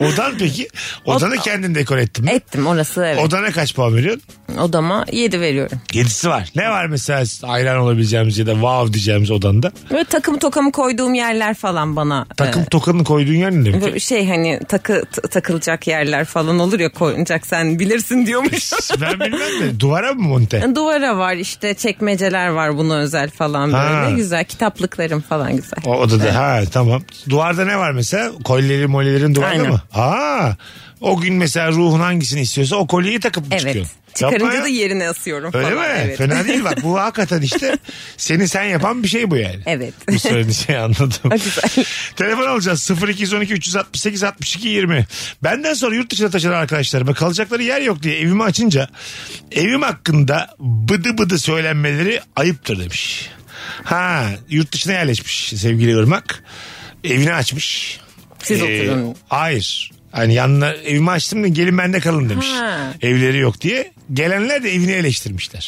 Speaker 2: Odan peki? Odanı kendin dekore ettin mi?
Speaker 3: Ettim orası evet.
Speaker 2: Odana kaç puan veriyorsun?
Speaker 3: Odama 7 veriyorum.
Speaker 2: Yedisi var. Ne var mesela hayran olabileceğimiz ya da wow diyeceğimiz odanda?
Speaker 3: Böyle takım tokamı koyduğum yerler falan bana.
Speaker 2: Takım tokanı koyduğun yer ne demek?
Speaker 3: Böyle şey hani takı t- takılacak yerler falan olur ya koyunacak sen bilirsin diyormuş.
Speaker 2: ben bilmem de duvara mı monte?
Speaker 3: Duvara var işte çekmeceler var buna özel falan
Speaker 2: Ha.
Speaker 3: böyle güzel kitaplıklarım falan güzel.
Speaker 2: O odada ha tamam. Duvarda ne var mesela? Kolyeleri molyelerin duvarda
Speaker 3: Aynen.
Speaker 2: mı? Aa, o gün mesela ruhun hangisini istiyorsa o kolyeyi takıp mı
Speaker 3: Evet.
Speaker 2: çıkıyorsun? Yapma
Speaker 3: Çıkarınca
Speaker 2: ya.
Speaker 3: da yerine asıyorum
Speaker 2: Öyle
Speaker 3: falan.
Speaker 2: mi?
Speaker 3: Evet.
Speaker 2: Fena değil bak bu hakikaten işte seni sen yapan bir şey bu yani.
Speaker 3: Evet.
Speaker 2: Bu söylediğin şeyi anladım.
Speaker 3: O güzel.
Speaker 2: Telefon alacağız 0212 368 62 20. Benden sonra yurt dışına taşınan arkadaşlarıma kalacakları yer yok diye evimi açınca evim hakkında bıdı bıdı söylenmeleri ayıptır demiş. Ha yurt dışına yerleşmiş sevgili Irmak. Evini açmış.
Speaker 3: Siz
Speaker 2: Ee,
Speaker 3: oturun.
Speaker 2: Hayır. Hani yanına evimi açtım da gelin bende kalın demiş.
Speaker 3: Ha.
Speaker 2: Evleri yok diye. Gelenler de evini eleştirmişler.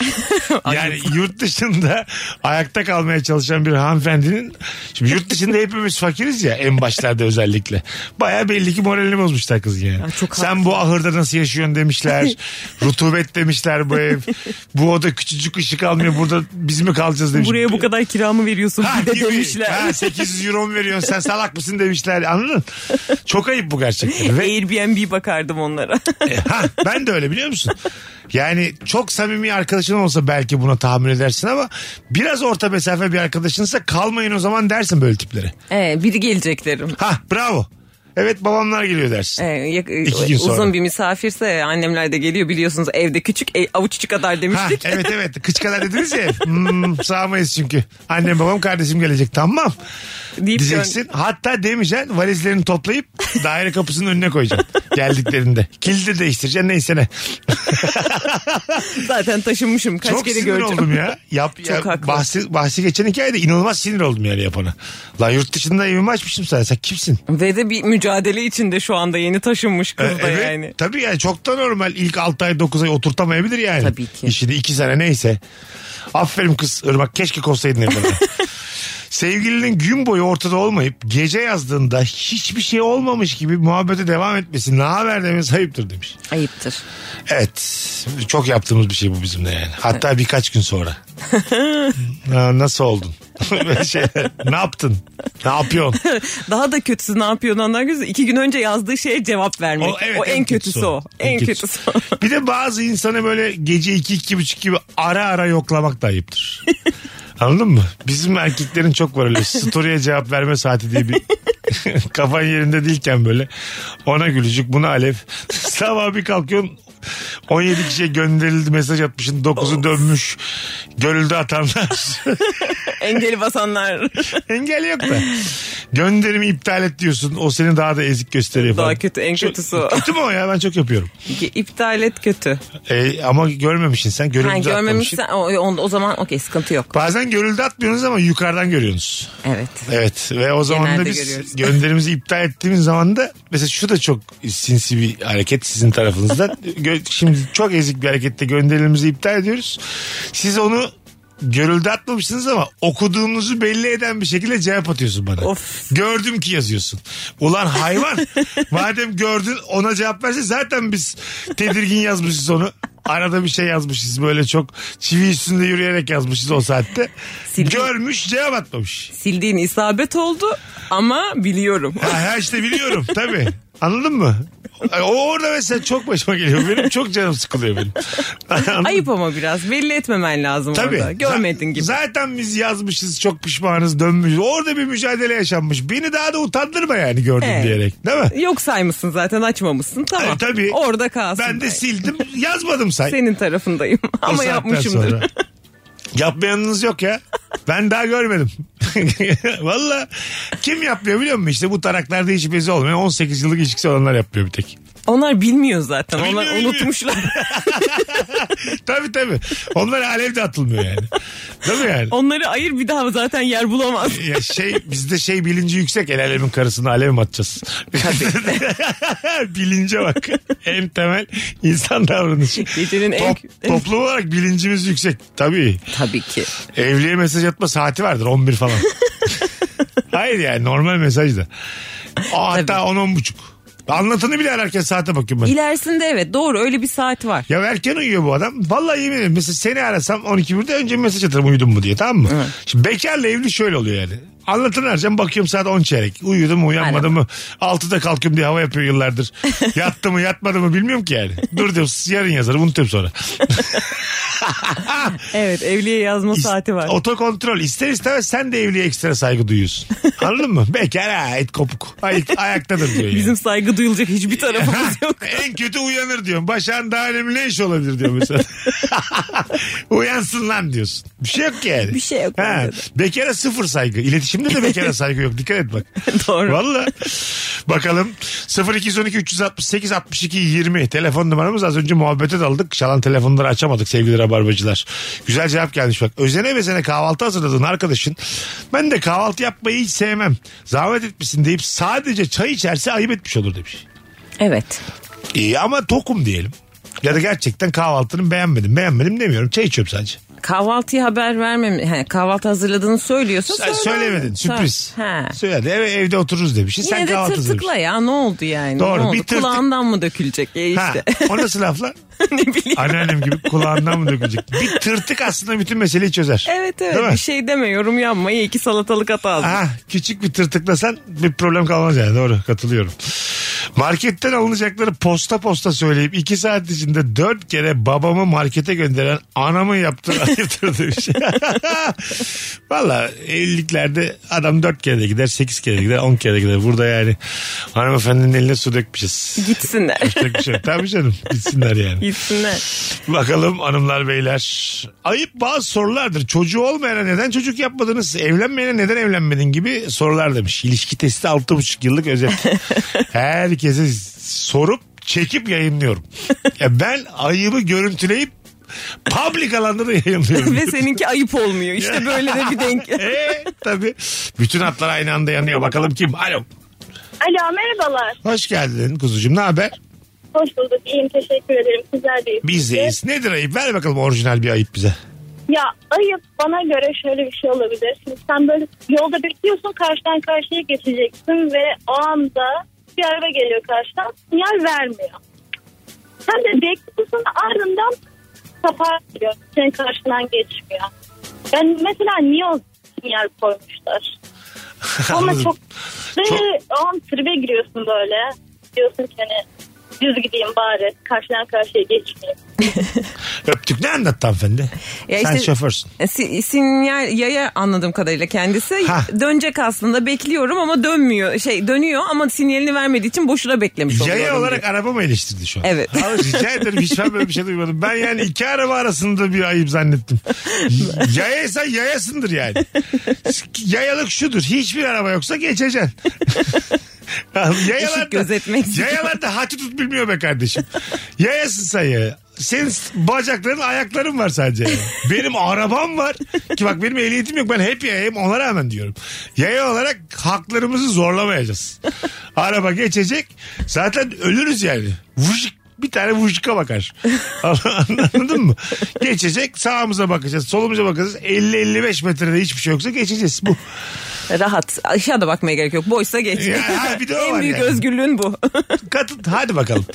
Speaker 2: yani yurt dışında ayakta kalmaya çalışan bir hanımefendinin şimdi yurt dışında hepimiz fakiriz ya en başlarda özellikle. Baya belli ki moralini bozmuşlar kız yani.
Speaker 3: Ya çok
Speaker 2: Sen
Speaker 3: haklı.
Speaker 2: bu ahırda nasıl yaşıyorsun demişler. Rutubet demişler bu ev. Bu oda küçücük ışık almıyor. Burada biz mi kalacağız demiş.
Speaker 3: Buraya bu kadar kiramı veriyorsun
Speaker 2: Ha,
Speaker 3: bir de
Speaker 2: gibi.
Speaker 3: demişler.
Speaker 2: Ha, şey- 800 euro mu veriyorsun sen salak mısın demişler anladın? Çok ayıp bu gerçekten. Ve, e,
Speaker 3: Airbnb bakardım onlara.
Speaker 2: ha, ben de öyle biliyor musun? Yani çok samimi arkadaşın olsa belki buna tahammül edersin ama biraz orta mesafe bir arkadaşınsa kalmayın o zaman dersin böyle tiplere.
Speaker 3: ee, biri gelecek derim.
Speaker 2: Ha bravo. Evet babamlar geliyor dersin.
Speaker 3: Ee, yak-
Speaker 2: İki gün sonra.
Speaker 3: uzun bir misafirse annemler de geliyor biliyorsunuz evde küçük e, avuç içi kadar
Speaker 2: Ha,
Speaker 3: demiştik.
Speaker 2: evet evet kıç kadar dediniz ya hmm, sağmayız çünkü annem babam kardeşim gelecek tamam
Speaker 3: Deyip
Speaker 2: diyeceksin hatta demeyeceksin valizlerini toplayıp daire kapısının önüne koyacaksın geldiklerinde kilidi değiştireceksin neyse ne
Speaker 3: Zaten taşınmışım. Kaç
Speaker 2: Çok
Speaker 3: kere
Speaker 2: sinir
Speaker 3: göreceğim.
Speaker 2: oldum ya. Yap,
Speaker 3: Çok
Speaker 2: ya,
Speaker 3: haklı.
Speaker 2: bahsi, bahsi geçen hikayede inanılmaz sinir oldum yani yapana. Lan yurt dışında evimi açmışım sana. Sen kimsin?
Speaker 3: Ve de bir mücadele içinde şu anda yeni taşınmış kız
Speaker 2: Ee,
Speaker 3: da yani.
Speaker 2: Tabii yani çok da normal. İlk 6 ay 9 ay oturtamayabilir yani.
Speaker 3: Tabii ki.
Speaker 2: İşini 2 sene neyse. Aferin kız Irmak keşke kovsaydın evden. Sevgilinin gün boyu ortada olmayıp gece yazdığında hiçbir şey olmamış gibi muhabbete devam etmesi ne haber demesi ayıptır demiş.
Speaker 3: Ayıptır.
Speaker 2: Evet. Çok yaptığımız bir şey bu bizim de yani. Hatta birkaç gün sonra. Ha, nasıl oldun? Böyle şey, ne yaptın? Ne yapıyorsun?
Speaker 3: Daha da kötüsü ne yapıyor ondan güzel. İki gün önce yazdığı şeye cevap vermek. O,
Speaker 2: evet,
Speaker 3: en, kötüsü, o. En kötüsü o.
Speaker 2: Bir de bazı insanı böyle gece iki, iki buçuk gibi ara ara yoklamak da ayıptır. Anladın mı? Bizim erkeklerin çok var öyle story'e cevap verme saati diye bir kafan yerinde değilken böyle ona gülücük buna alev. Sabah bir kalkıyorsun 17 kişiye gönderildi mesaj atmışın 9'u dönmüş. Görüldü atanlar.
Speaker 3: Engeli basanlar
Speaker 2: Engel yok da. Gönderimi iptal et diyorsun. O seni daha da ezik gösteriyor falan.
Speaker 3: daha kötü en
Speaker 2: Çok-
Speaker 3: kötüsü o.
Speaker 2: Kötü mü o ya ben çok yapıyorum.
Speaker 3: İptal et kötü.
Speaker 2: Ee, ama görmemişsin sen görüldü
Speaker 3: Ha,
Speaker 2: atmamışsın.
Speaker 3: görmemişsen o, o, o zaman okey sıkıntı yok.
Speaker 2: Bazen görüldü atmıyorsunuz ama yukarıdan görüyorsunuz.
Speaker 3: Evet.
Speaker 2: Evet ve o zaman da
Speaker 3: Genelde
Speaker 2: biz
Speaker 3: görüyoruz.
Speaker 2: gönderimizi iptal ettiğimiz zaman da mesela şu da çok sinsi bir hareket sizin tarafınızdan. Gö- Şimdi çok ezik bir harekette gönderimizi iptal ediyoruz. Siz onu görüldü atmamışsınız ama okuduğunuzu belli eden bir şekilde cevap atıyorsun bana.
Speaker 3: Of.
Speaker 2: Gördüm ki yazıyorsun. Ulan hayvan. Madem gördün ona cevap verse zaten biz tedirgin yazmışız onu. Arada bir şey yazmışız böyle çok çivi üstünde yürüyerek yazmışız o saatte.
Speaker 3: Sildim.
Speaker 2: Görmüş cevap atmamış.
Speaker 3: Sildiğin isabet oldu ama biliyorum.
Speaker 2: Ha, ha işte biliyorum tabii. Anladın mı? O orada mesela çok başıma geliyor. Benim çok canım sıkılıyor benim. Anladın
Speaker 3: Ayıp ama biraz belli etmemen lazım
Speaker 2: Tabii.
Speaker 3: orada. Görmedin
Speaker 2: Za-
Speaker 3: gibi.
Speaker 2: Zaten biz yazmışız çok pişmanız dönmüşüz. Orada bir mücadele yaşanmış. Beni daha da utandırma yani gördüm
Speaker 3: Evet.
Speaker 2: diyerek. Değil mi?
Speaker 3: Yok saymışsın zaten açmamışsın tamam.
Speaker 2: Ay, tabii.
Speaker 3: Orada kalsın.
Speaker 2: Ben de sildim yazmadım say.
Speaker 3: Senin tarafındayım
Speaker 2: O
Speaker 3: ama
Speaker 2: saatten
Speaker 3: yapmışımdır.
Speaker 2: sonra. Yapmayanınız yok ya. Ben daha görmedim. Valla kim yapmıyor biliyor musun? İşte bu taraklarda hiç bezi olmuyor. 18 yıllık ilişkisi olanlar yapıyor bir tek.
Speaker 3: Onlar bilmiyor zaten.
Speaker 2: Bilmiyor,
Speaker 3: Onlar
Speaker 2: bilmiyor.
Speaker 3: unutmuşlar.
Speaker 2: Tabii tabii. Onlar alev de atılmıyor yani. Değil mi yani?
Speaker 3: Onları ayır bir daha zaten yer bulamaz.
Speaker 2: Ya şey bizde şey bilinci yüksek el alemin karısına alev mi atacağız? Bilince bak. En temel insan davranışı.
Speaker 3: Gecenin en-
Speaker 2: Toplum olarak bilincimiz yüksek. Tabii.
Speaker 3: Tabii ki.
Speaker 2: Evliye mesaj atma saati vardır 11 falan. Hayır yani normal mesaj da. Aa, Hatta 10 buçuk. Anlatanı bile ararken saate bakıyorum ben.
Speaker 3: İlerisinde evet doğru öyle bir saat var.
Speaker 2: Ya erken uyuyor bu adam. Vallahi yemin ederim mesela seni arasam 12 birde önce mesaj atarım uyudun mu diye tamam mı? Şimdi bekarla evli şöyle oluyor yani. Anlatın arayacağım bakıyorum saat 10 çeyrek. Uyudum mu uyanmadım mı? 6'da kalkıyorum diye hava yapıyor yıllardır. Yattı mı yatmadı mı bilmiyorum ki yani. Dur diyorum yarın yazarım unutuyorum sonra.
Speaker 3: Evet evliye yazma
Speaker 2: İs-
Speaker 3: saati var.
Speaker 2: Otokontrol. İster istemez sen de evliye ekstra saygı duyuyorsun. Anladın mı? Bekar ha et kopuk. Ay, ayaktadır diyor yani.
Speaker 3: Bizim saygı duyulacak hiçbir tarafımız yok.
Speaker 2: en kötü uyanır diyorum. Başağın daha önemli ne iş olabilir diyor mesela. Uyansın lan diyorsun. Bir şey yok ki yani.
Speaker 3: Bir şey yok
Speaker 2: Ha,
Speaker 3: bence
Speaker 2: bekara sıfır saygı. İletişimde de bekara saygı yok. Dikkat et bak.
Speaker 3: Doğru.
Speaker 2: Valla. Bakalım 0212 368 62 20 telefon numaramız az önce muhabbete daldık. Şalan telefonları açamadık sevgili rabarbacılar. Güzel cevap gelmiş bak. Özene bezene kahvaltı hazırladığın arkadaşın ben de kahvaltı yapmayı hiç sevmem. Zahmet etmişsin deyip sadece çay içerse ayıp etmiş olur demiş.
Speaker 3: Evet.
Speaker 2: İyi ama tokum diyelim. Ya da gerçekten kahvaltını beğenmedim. Beğenmedim demiyorum. Çay içiyorum sadece.
Speaker 3: Kahvaltıya haber vermem. He, kahvaltı hazırladığını söylüyorsa
Speaker 2: Sen
Speaker 3: söyle.
Speaker 2: söylemedin. Sürpriz.
Speaker 3: Ha.
Speaker 2: Söyledi. Eve, evde otururuz demiş. Sen
Speaker 3: Yine de
Speaker 2: kahvaltı
Speaker 3: tırtıkla
Speaker 2: hazırlamışsın.
Speaker 3: ya ne oldu yani?
Speaker 2: Doğru,
Speaker 3: Ne oldu?
Speaker 2: bir tırtık-
Speaker 3: Kulağından mı dökülecek? E
Speaker 2: Ha,
Speaker 3: işte.
Speaker 2: o nasıl lafla?
Speaker 3: ne bileyim.
Speaker 2: Anneannem gibi kulağından mı dökülecek? Bir tırtık aslında bütün meseleyi çözer.
Speaker 3: Evet
Speaker 2: Değil
Speaker 3: evet
Speaker 2: mi?
Speaker 3: bir şey deme yorum yapma İyi iki salatalık at ağzına.
Speaker 2: Ha, küçük bir tırtıklasan bir problem kalmaz yani. Doğru katılıyorum. Marketten alınacakları posta posta söyleyip iki saat içinde dört kere babamı markete gönderen anamı yaptığı şey. ayıptır demiş. Valla evliliklerde adam dört kere de gider, sekiz kere de gider, on kere de gider. Burada yani hanımefendinin eline su dökmüşüz.
Speaker 3: Gitsinler.
Speaker 2: Yapacak bir şey yok. Tabii canım gitsinler yani.
Speaker 3: Gitsinler.
Speaker 2: Bakalım hanımlar beyler. Ayıp bazı sorulardır. Çocuğu olmayana neden çocuk yapmadınız? Evlenmeyene neden evlenmedin gibi sorular demiş. İlişki testi 6,5 yıllık özet. Herkese sorup çekip yayınlıyorum. Ya ben ayıbı görüntüleyip public alanda da yayınlıyorum.
Speaker 3: Ve seninki ayıp olmuyor. İşte böyle de bir denk.
Speaker 2: e, tabii. Bütün hatlar aynı anda yanıyor. Bakalım kim? Alo.
Speaker 7: Alo merhabalar.
Speaker 2: Hoş geldin kuzucuğum. Ne haber?
Speaker 7: Hoş bulduk. İyiyim teşekkür ederim. Sizler deyiz.
Speaker 2: Biz deyiz. Nedir ayıp? Ver bakalım orijinal bir ayıp bize.
Speaker 7: Ya ayıp bana göre şöyle bir şey olabilir. Şimdi sen böyle yolda bekliyorsun karşıdan karşıya geçeceksin ve o anda bir araba geliyor karşıdan sinyal vermiyor. Sen de bekliyorsun ardından kapar diyor. Senin karşından geçmiyor. Ben mesela niye o sinyal koymuşlar? Ama
Speaker 2: Anladım.
Speaker 7: çok... Ve
Speaker 2: Çok-
Speaker 7: o an tribe giriyorsun böyle. Diyorsun ki hani düz gideyim bari karşıdan karşıya geçmeyeyim.
Speaker 2: Öptük ne anlattı hanımefendi?
Speaker 3: Ya
Speaker 2: Sen
Speaker 3: işte-
Speaker 2: şoförsün.
Speaker 3: E, si- Sinyal yaya anladığım kadarıyla kendisi
Speaker 2: Ha.
Speaker 3: dönecek aslında bekliyorum ama dönmüyor şey dönüyor ama sinyalini vermediği için boşuna beklemiş oluyorum.
Speaker 2: Yaya
Speaker 3: diyor.
Speaker 2: olarak araba mı eleştirdi şu an?
Speaker 3: Evet.
Speaker 2: Abi rica ederim hiç ben böyle bir şey duymadım. Ben yani iki araba arasında bir ayıp zannettim. Yayaysan yayasındır yani. Yayalık şudur. Hiçbir araba yoksa geçeceksin. yayalarda,
Speaker 3: Işık gözetmek.
Speaker 2: yayalarda hati tut bilmiyor be kardeşim. Yayasın sen ya. Senin bacakların ayakların var sadece. yani. Benim arabam var. Ki bak benim ehliyetim yok. Ben hep yayayım ona rağmen diyorum. Yaya olarak haklarımızı zorlamayacağız. Araba geçecek. Zaten ölürüz yani. Vuşik bir tane vuşka bakar. Anladın mı? Geçecek sağımıza bakacağız solumuza bakacağız. 50-55 metrede hiçbir şey yoksa geçeceğiz. Bu.
Speaker 3: Rahat aşağıda bakmaya gerek yok boşsa geç.
Speaker 2: Ya, ha, bir de o
Speaker 3: en
Speaker 2: var
Speaker 3: büyük
Speaker 2: yani.
Speaker 3: özgürlüğün bu.
Speaker 2: Katıl hadi bakalım.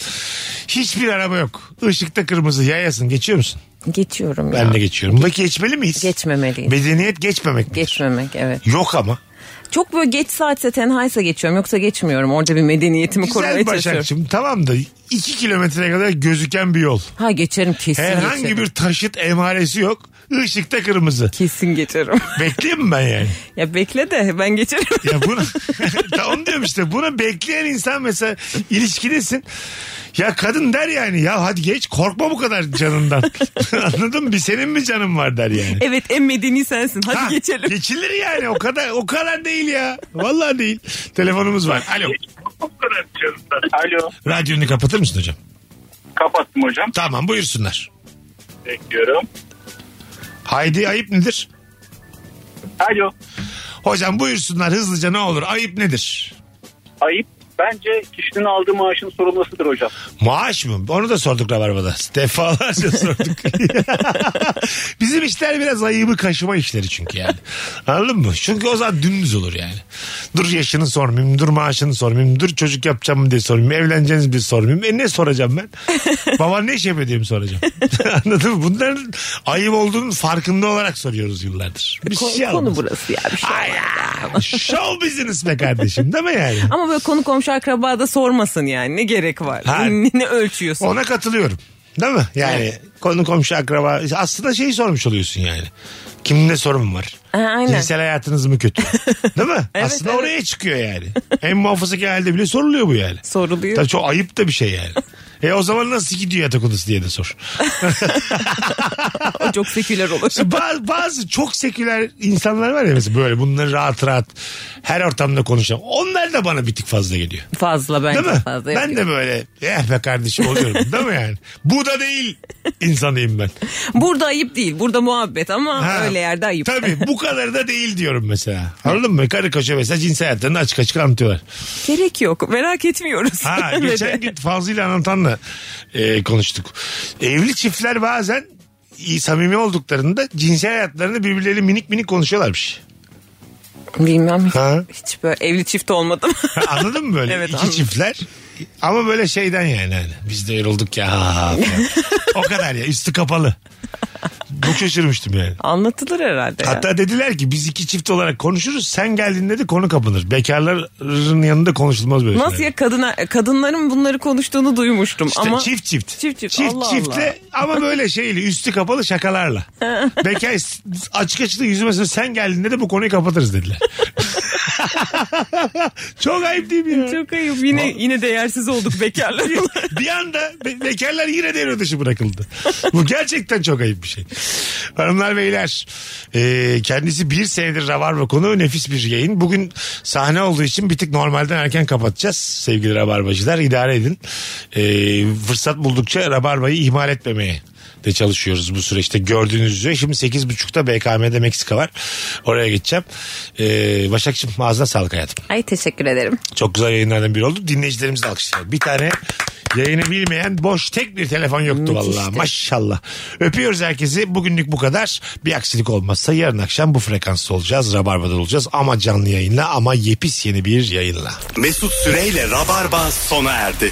Speaker 2: Hiçbir araba yok. Işıkta kırmızı yayasın geçiyor musun?
Speaker 3: Geçiyorum ya.
Speaker 2: Ben de geçiyorum. Bak geçmeli miyiz?
Speaker 3: Geçmemeliyim.
Speaker 2: Medeniyet geçmemek midir?
Speaker 3: Geçmemek evet.
Speaker 2: Yok ama.
Speaker 3: Çok böyle geç saatse tenhaysa geçiyorum yoksa geçmiyorum. Orada bir medeniyetimi korumaya
Speaker 2: Güzel
Speaker 3: çalışıyorum.
Speaker 2: Başakçım tamam da 2 kilometreye kadar gözüken bir yol.
Speaker 3: Ha geçerim kesin
Speaker 2: Herhangi
Speaker 3: geçerim.
Speaker 2: bir taşıt emaresi yok. Işıkta kırmızı.
Speaker 3: Kesin geçerim.
Speaker 2: Bekleyeyim mi ben yani?
Speaker 3: ya bekle de ben geçerim.
Speaker 2: Ya bunu tamam diyorum işte bunu bekleyen insan mesela ilişkidesin. Ya kadın der yani ya hadi geç korkma bu kadar canından. Anladın mı? Bir senin mi canın var der yani.
Speaker 3: evet en medeni sensin. Hadi
Speaker 2: Ha,
Speaker 3: geçelim.
Speaker 2: Geçilir yani o kadar o kadar değil ya. Vallahi değil. Telefonumuz var. Alo.
Speaker 4: Alo
Speaker 2: Radyonu kapatır mısın hocam?
Speaker 4: kapattım hocam
Speaker 2: Tamam buyursunlar.
Speaker 4: bekliyorum.
Speaker 2: Haydi ayıp nedir?
Speaker 4: Alo
Speaker 2: Hocam buyursunlar hızlıca ne olur ayıp nedir?
Speaker 4: ayıp bence kişinin aldığı maaşın sorumlusudur hocam.
Speaker 2: Maaş mı? Onu da sorduk Rabarba'da. Defalarca sorduk. Bizim işler biraz ayıbı kaşıma işleri çünkü yani. Anladın mı? Çünkü o zaman dümdüz olur yani. Dur yaşını sormayayım, dur maaşını sormayayım, dur çocuk yapacağım mı diye sormayayım, evleneceğiniz bir sormayayım. E ne soracağım ben? Baban ne iş yapıyor diye mi soracağım? Anladın mı? Bunların ayıp olduğunun farkında olarak soruyoruz yıllardır. Bir
Speaker 3: Ko-
Speaker 2: şey
Speaker 3: konu
Speaker 2: almaz.
Speaker 3: burası ya bir şey.
Speaker 2: Ay ya, Show business be kardeşim değil mi yani?
Speaker 3: Ama böyle konu komşu akraba da sormasın yani. Ne gerek var?
Speaker 2: Ha.
Speaker 3: Ne, ne ölçüyorsun?
Speaker 2: Ona katılıyorum. Değil mi? Yani konu komşu akraba aslında şeyi sormuş oluyorsun yani. Kimin ne sorun var?
Speaker 3: Ha, aynen.
Speaker 2: Cinsel hayatınız mı kötü? Değil mi?
Speaker 3: Evet,
Speaker 2: aslında
Speaker 3: evet.
Speaker 2: oraya çıkıyor yani. En muhafazaki halde bile soruluyor bu yani.
Speaker 3: Soruluyor.
Speaker 2: Tabii çok ayıp da bir şey yani. E o zaman nasıl gidiyor yatak odası diye de sor.
Speaker 3: O çok seküler olur.
Speaker 2: bazı, bazı çok seküler insanlar var ya mesela böyle bunları rahat rahat her ortamda konuşan. Onlar da bana bir tık fazla geliyor.
Speaker 3: fazla bence
Speaker 2: Değil mi?
Speaker 3: fazla.
Speaker 2: ben de böyle eh be kardeşim oluyorum değil mi yani? Bu da değil insanıyım ben.
Speaker 3: Burada ayıp değil. Burada muhabbet ama
Speaker 2: Ha,
Speaker 3: öyle yerde ayıp.
Speaker 2: Tabii bu kadar da değil diyorum mesela. Anladın mı? Karı koca mesela cinsel hayatlarını açık açık anlatıyorlar.
Speaker 3: Gerek yok. Merak etmiyoruz.
Speaker 2: Ha,
Speaker 3: Öyle de.
Speaker 2: geçen gün Fazlı ile Anlatan'la e, konuştuk. Evli çiftler bazen iyi, samimi olduklarında cinsel hayatlarını birbirleriyle minik minik konuşuyorlarmış.
Speaker 3: Bilmem hiç,
Speaker 2: Ha.
Speaker 3: hiç böyle evli çift olmadım.
Speaker 2: Ha, Anladın mı böyle?
Speaker 3: Evet,
Speaker 2: İki
Speaker 3: anladım.
Speaker 2: çiftler. Ama böyle şeyden yani. hani, biz de yorulduk ya. falan. o kadar ya. Üstü kapalı. Çok şaşırmıştım yani.
Speaker 3: Anlatılır herhalde ya.
Speaker 2: Hatta dediler ki biz iki çift olarak konuşuruz. Sen geldiğinde de konu kapanır. Bekarların yanında konuşulmaz böyle
Speaker 3: Nasıl
Speaker 2: şeyler.
Speaker 3: ya kadına kadınların bunları konuştuğunu duymuştum
Speaker 2: İşte
Speaker 3: ama
Speaker 2: çift çift.
Speaker 3: Çift çift, Allah
Speaker 2: çiftle ama böyle şeyle üstü kapalı şakalarla. Bekar açık açık da yüzüme söylüyor, sen geldiğinde de bu konuyu kapatırız dediler. Çok ayıp değil mi ya?
Speaker 3: çok ayıp yine yine değersiz olduk bekarlar.
Speaker 2: bir anda be- bekarlar yine devre dışı bırakıldı. Bu gerçekten çok ayıp bir şey. Hanımlar beyler e, kendisi bir senedir Rabarba konu nefis bir yayın. Bugün sahne olduğu için bir tık normalden erken kapatacağız sevgili Rabarbacılar idare edin. E, fırsat buldukça Rabarba'yı ihmal etmemeye de çalışıyoruz bu süreçte gördüğünüz üzere. Şimdi 8.30'da BKM'de Meksika var. Oraya geçeceğim. Ee, Başakçım ağzına sağlık hayatım.
Speaker 3: Ay teşekkür ederim.
Speaker 2: Çok güzel yayınlardan biri oldu. Dinleyicilerimiz de alkışlıyor. Bir tane yayını bilmeyen boş tek bir telefon yoktu
Speaker 3: Müthişti.
Speaker 2: vallahi. Maşallah. Öpüyoruz herkesi. Bugünlük bu kadar. Bir aksilik olmazsa yarın akşam bu frekansta olacağız. Rabarba'da olacağız. Ama canlı yayınla ama yepis yeni bir yayınla.
Speaker 1: Mesut Süreyle Rabarba sona erdi.